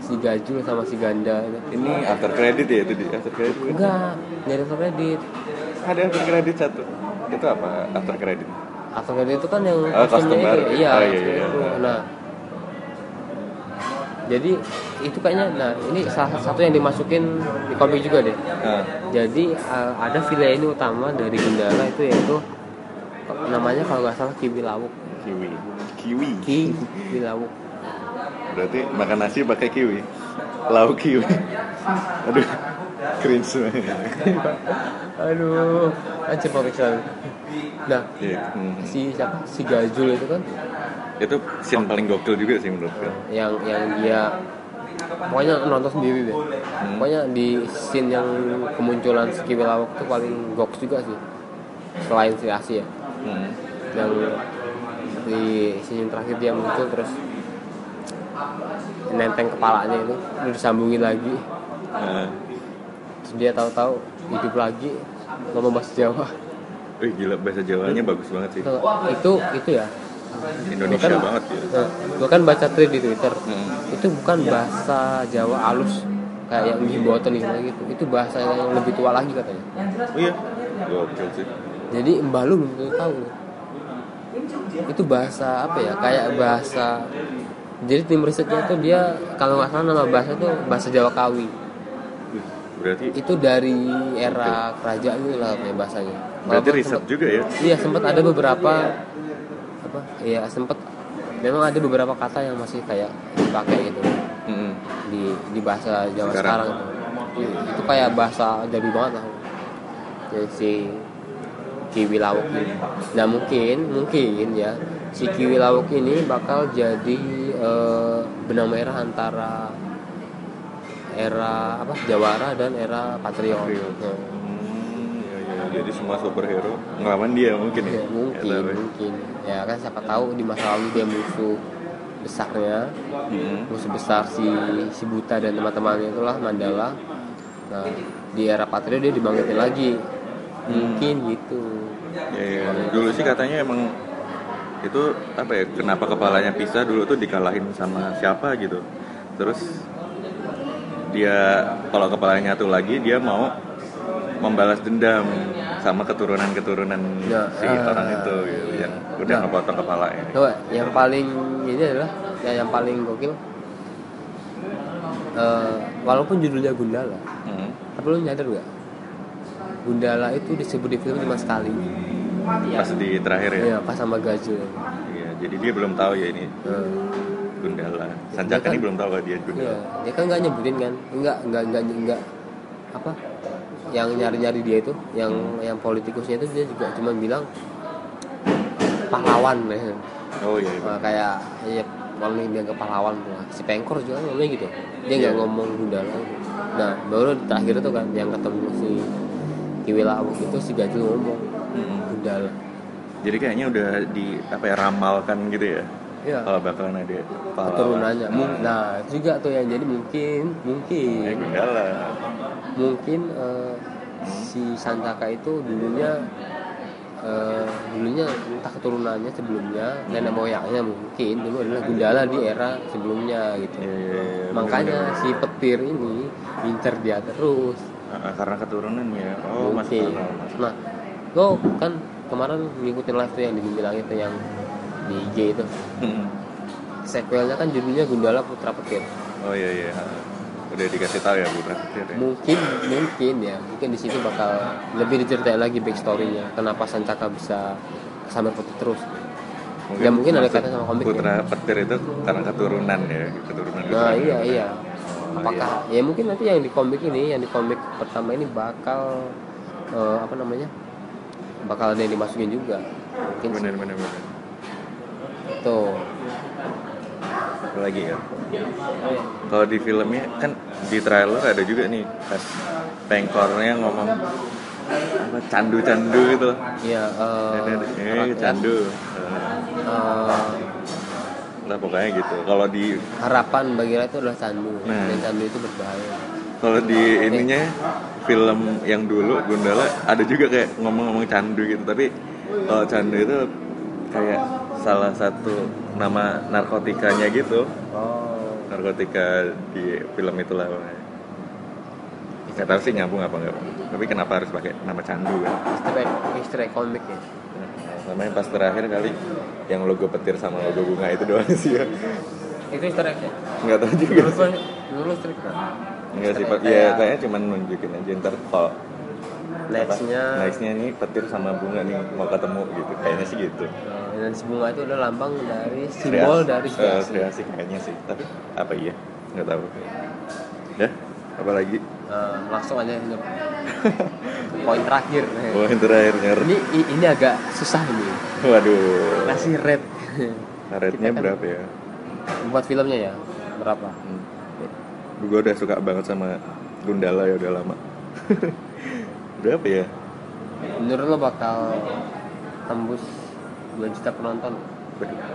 si Gajul sama si Ganda itu.
ini after credit ya itu di after credit bukan?
enggak nyari after credit
ada after credit satu itu apa after credit
after credit itu kan yang
Oh, custom
customnya
baru.
itu iya,
Oh, iya,
custom
iya,
itu.
iya.
nah jadi itu kayaknya nah ini salah satu yang dimasukin di komik juga deh
nah,
jadi eh, ada villain utama dari Gundala itu yaitu namanya kalau nggak salah Kiwi Lawuk
kiwi kiwi
Kiwi Lawuk
berarti makan nasi pakai kiwi lauk kiwi aduh cringe
aduh anjir komik selalu nah
Iya. Hmm.
si siapa si Gajul itu kan
itu scene paling gokil juga sih menurut gue
yang yang dia pokoknya nonton sendiri deh
Hmm.
pokoknya di scene yang kemunculan si Kiwi Lawak itu paling goks juga sih selain si Asia ya.
hmm.
yang di scene yang terakhir dia muncul terus nenteng kepalanya itu udah disambungin lagi
Nah,
terus dia tahu-tahu hidup lagi ngomong bahasa Jawa
wih, gila bahasa Jawanya bagus banget sih
itu itu ya
Indonesia
Bukan.
banget ya
Nah, gue kan baca thread di Twitter.
Hmm.
Itu bukan bahasa Jawa halus kayak yang Gimboten gitu, gitu. Itu bahasa yang lebih tua lagi katanya.
oh, iya gokil sih
Jadi Mbah lu belum tentu tahu. Itu bahasa apa ya? Kayak bahasa jadi tim risetnya tuh dia kalau nggak salah nama bahasa tuh bahasa Jawa Kawi.
Wih, berarti
Itu dari era kerajaan gitu lah katanya bahasanya.
berarti
Walaupun
riset
sempet-
juga ya
Iya sempat ada beberapa apa? Iya sempat memang ada beberapa kata yang masih kayak dipakai gitu
Mm-mm.
di di bahasa Jawa
Sekarang.
sekarang, Iya, itu. itu kayak bahasa Jabi banget lah. Jadi si Kiwi Lawuk ini. Nah mungkin, mungkin ya si Kiwi Lawuk ini bakal jadi eh, benang merah antara era apa Jawara dan era Patriot.
Patriot.
Nah,
Hmm, iya, iya. Jadi semua superhero ngelawan dia mungkin ya.
ya, mungkin,
Atau apa ya?
mungkin ya kan siapa tahu di masa lalu dia musuh besarnya
Hmm.
musuh besar si si buta dan teman-temannya itulah Mandala nah di era Patria dia dibangkitin lagi mungkin gitu
Ya, ya. Dulu sih katanya emang itu apa ya? Kenapa kepalanya pisah dulu tuh dikalahin sama siapa gitu. Terus dia kalau kepalanya nyatu lagi dia mau membalas dendam sama keturunan-keturunan
Ya,
si
ah.
orang itu gitu, yang udah ngepotong kepalanya.
coba yang paling ini adalah ya yang paling gokil Eh, walaupun judulnya Gundala
Hmm.
tapi lu nyadar gak Gundala itu disebut di film cuma sekali
Pas di terakhir ya.
ya pas sama Gajul
Iya, jadi dia belum tahu ya ini
Eh,
Gundala. Sanjaka
Dia
ini
kan-
belum tahu kalau dia
Iya,
Gundala.
dia kan nggak nyebutin kan? Enggak, enggak, enggak, enggak apa? Yang nyari-nyari dia itu, yang yang politikusnya itu dia juga cuma bilang pahlawan ya.
Oh iya. iya.
Nah, kayak ya paling dia ke pahlawan tuh. Si Pengkor juga ngomongnya gitu. Dia nggak
Iya.
ngomong Gundala. gitu. Nah, baru terakhir itu kan yang ketemu si Kiwi Lawuk itu si Gajul ngomong
Hmm.
Gundala.
Jadi kayaknya udah di apa ya ramalkan gitu ya.
Iya.
Kalau bakalan ada pahlawan.
Keturunannya.
Mung-
Nah, itu juga tuh yang jadi mungkin mungkin
Ya, Gundala.
mungkin eh, si Santaka itu dulunya eh, dulunya entah keturunannya sebelumnya nenek moyangnya mungkin dulu adalah Gundala di era sebelumnya gitu
Iya, iya, iya.
makanya si petir ini incer dia terus
Ah, ah, karena keturunan ya. Oh, masuk
mungkin
akal, masuk
nah lo kan kemarin ngikutin live tuh yang dibilang itu yang di IG itu
Hmm.
sequelnya kan judulnya Gundala Putra Petir
Oh iya iya. Udah dikasih tahu ya Bu Prasetyo ya.
mungkin mungkin ya mungkin di situ bakal lebih diceritain lagi backstory-nya kenapa Sancaka bisa sampai putih terus ya mungkin ada
maksud
kaitan sama komik ya.
Putra Petir itu karena keturunan ya, keturunan.
nah iya iya apakah ya mungkin nanti yang di komik ini yang di komik pertama ini bakal eh, apa namanya bakal ada yang dimasukin juga mungkin sih.
Benar benar benar.
tuh
Apa lagi ya? Kalau di filmnya kan di trailer ada juga nih pas pengkornya ngomong apa candu-candu gitu. loh.
iya eh,
Eh,
rakyat,
candu. Eh,
eh,
Nah pokoknya gitu. Kalau di
harapan bagi rakyat itu adalah candu
Nah.
dan candu itu berbahaya
kalau di ininya film yang dulu Gundala ada juga kayak ngomong-ngomong candu gitu. Tapi kalau candu itu kayak salah satu nama narkotikanya gitu.
oh
Narkotika di film itulah. pokoknya. Nggak tahu sih nyambung apa enggak. Tapi kenapa harus pakai nama candu kan?
istri istri komik ya
Sama yang pas terakhir kali yang logo petir sama logo bunga itu doang sih ya.
itu easter egg ya
Nggak tahu juga.
dulu
sih.
dulu strik
Enggak sih, Pak. Ya, kayaknya cuma nunjukin aja ntar kalau
nextnya
apa, nextnya nih petir sama bunga nih mau ketemu gitu. Kayaknya sih gitu.
eh, dan si bunga itu adalah lambang dari
Kreasi-
simbol dari
eh,
kreasi
kreasi kayaknya sih. Tapi apa iya? Enggak tahu. Ya, apalagi
Eh, langsung aja nyep. poin terakhir
oh, yang terakhir nyer.
ini i- ini agak susah ini
Waduh.
kasih rate *laughs*
Karetnya
Kita kan-
berapa ya?
buat filmnya ya berapa
Hmm. Gue udah suka banget sama Gundala ya udah lama. *laughs* berapa ya?
menurut lo bakal tembus 2 juta penonton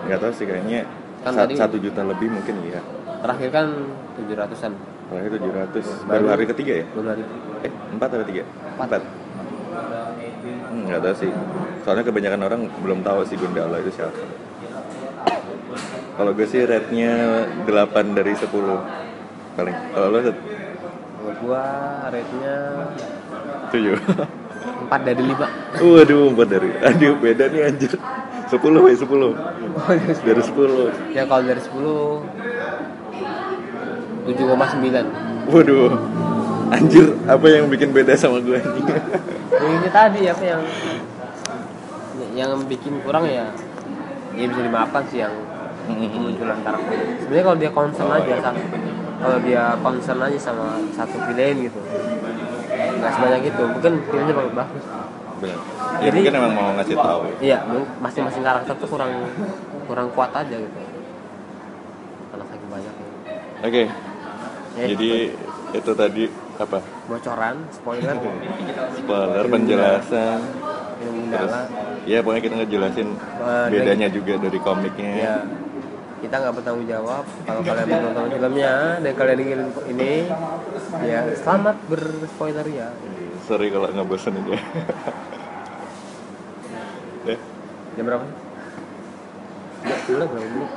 Enggak tahu sih kayaknya
Kan
sa-
tadi-
satu juta lebih mungkin iya.
terakhir kan 700an
Terakhir 700 baru
Baru-
hari ketiga ya?
belum dari
Eh, empat atau tiga?
Empat.
Hmm, nggak tahu sih. Soalnya kebanyakan orang belum tahu si Gundala itu siapa. Kalau gue sih rate-nya 8 dari 10 paling. Kalau lo Sat?
Kalau gua rate-nya
7.
4 dari 5
*laughs* Waduh, 4 dari. Aduh, beda nih anjir. 10 by 10. Dari 10.
Ya kalau dari 10 7,9
Waduh. Anjir, apa yang bikin beda sama gue *laughs* anjing?
Yang ini tadi apa yang yang bikin kurang ya ya bisa dimaafkan sih yang kemunculan karakter sebenarnya kalau dia concern
Oh,
aja
iya.
sama kalau dia concern aja sama satu film gitu nggak sebanyak itu mungkin filmnya bagus bagus
benar ya mungkin emang mau ngasih tahu
Iya, mung- masing-masing karakter tuh kurang kurang kuat aja gitu. Karena saking banyak.
oke
Eh,
jadi itu tadi apa
bocoran, spoiler,
spoiler penjelasan
yang
terus
Gundala.
ya pokoknya kita ngejelasin
Eh,
bedanya juga dari komiknya
Ya, kita nggak bertanggung jawab kalau kalian belum nonton filmnya dan kalian ingin ini ya selamat berspoiler ya
sorry kalau nggak bosenin ya *laughs* Deh.
jam berapa sih? Ya, udah berapa menit?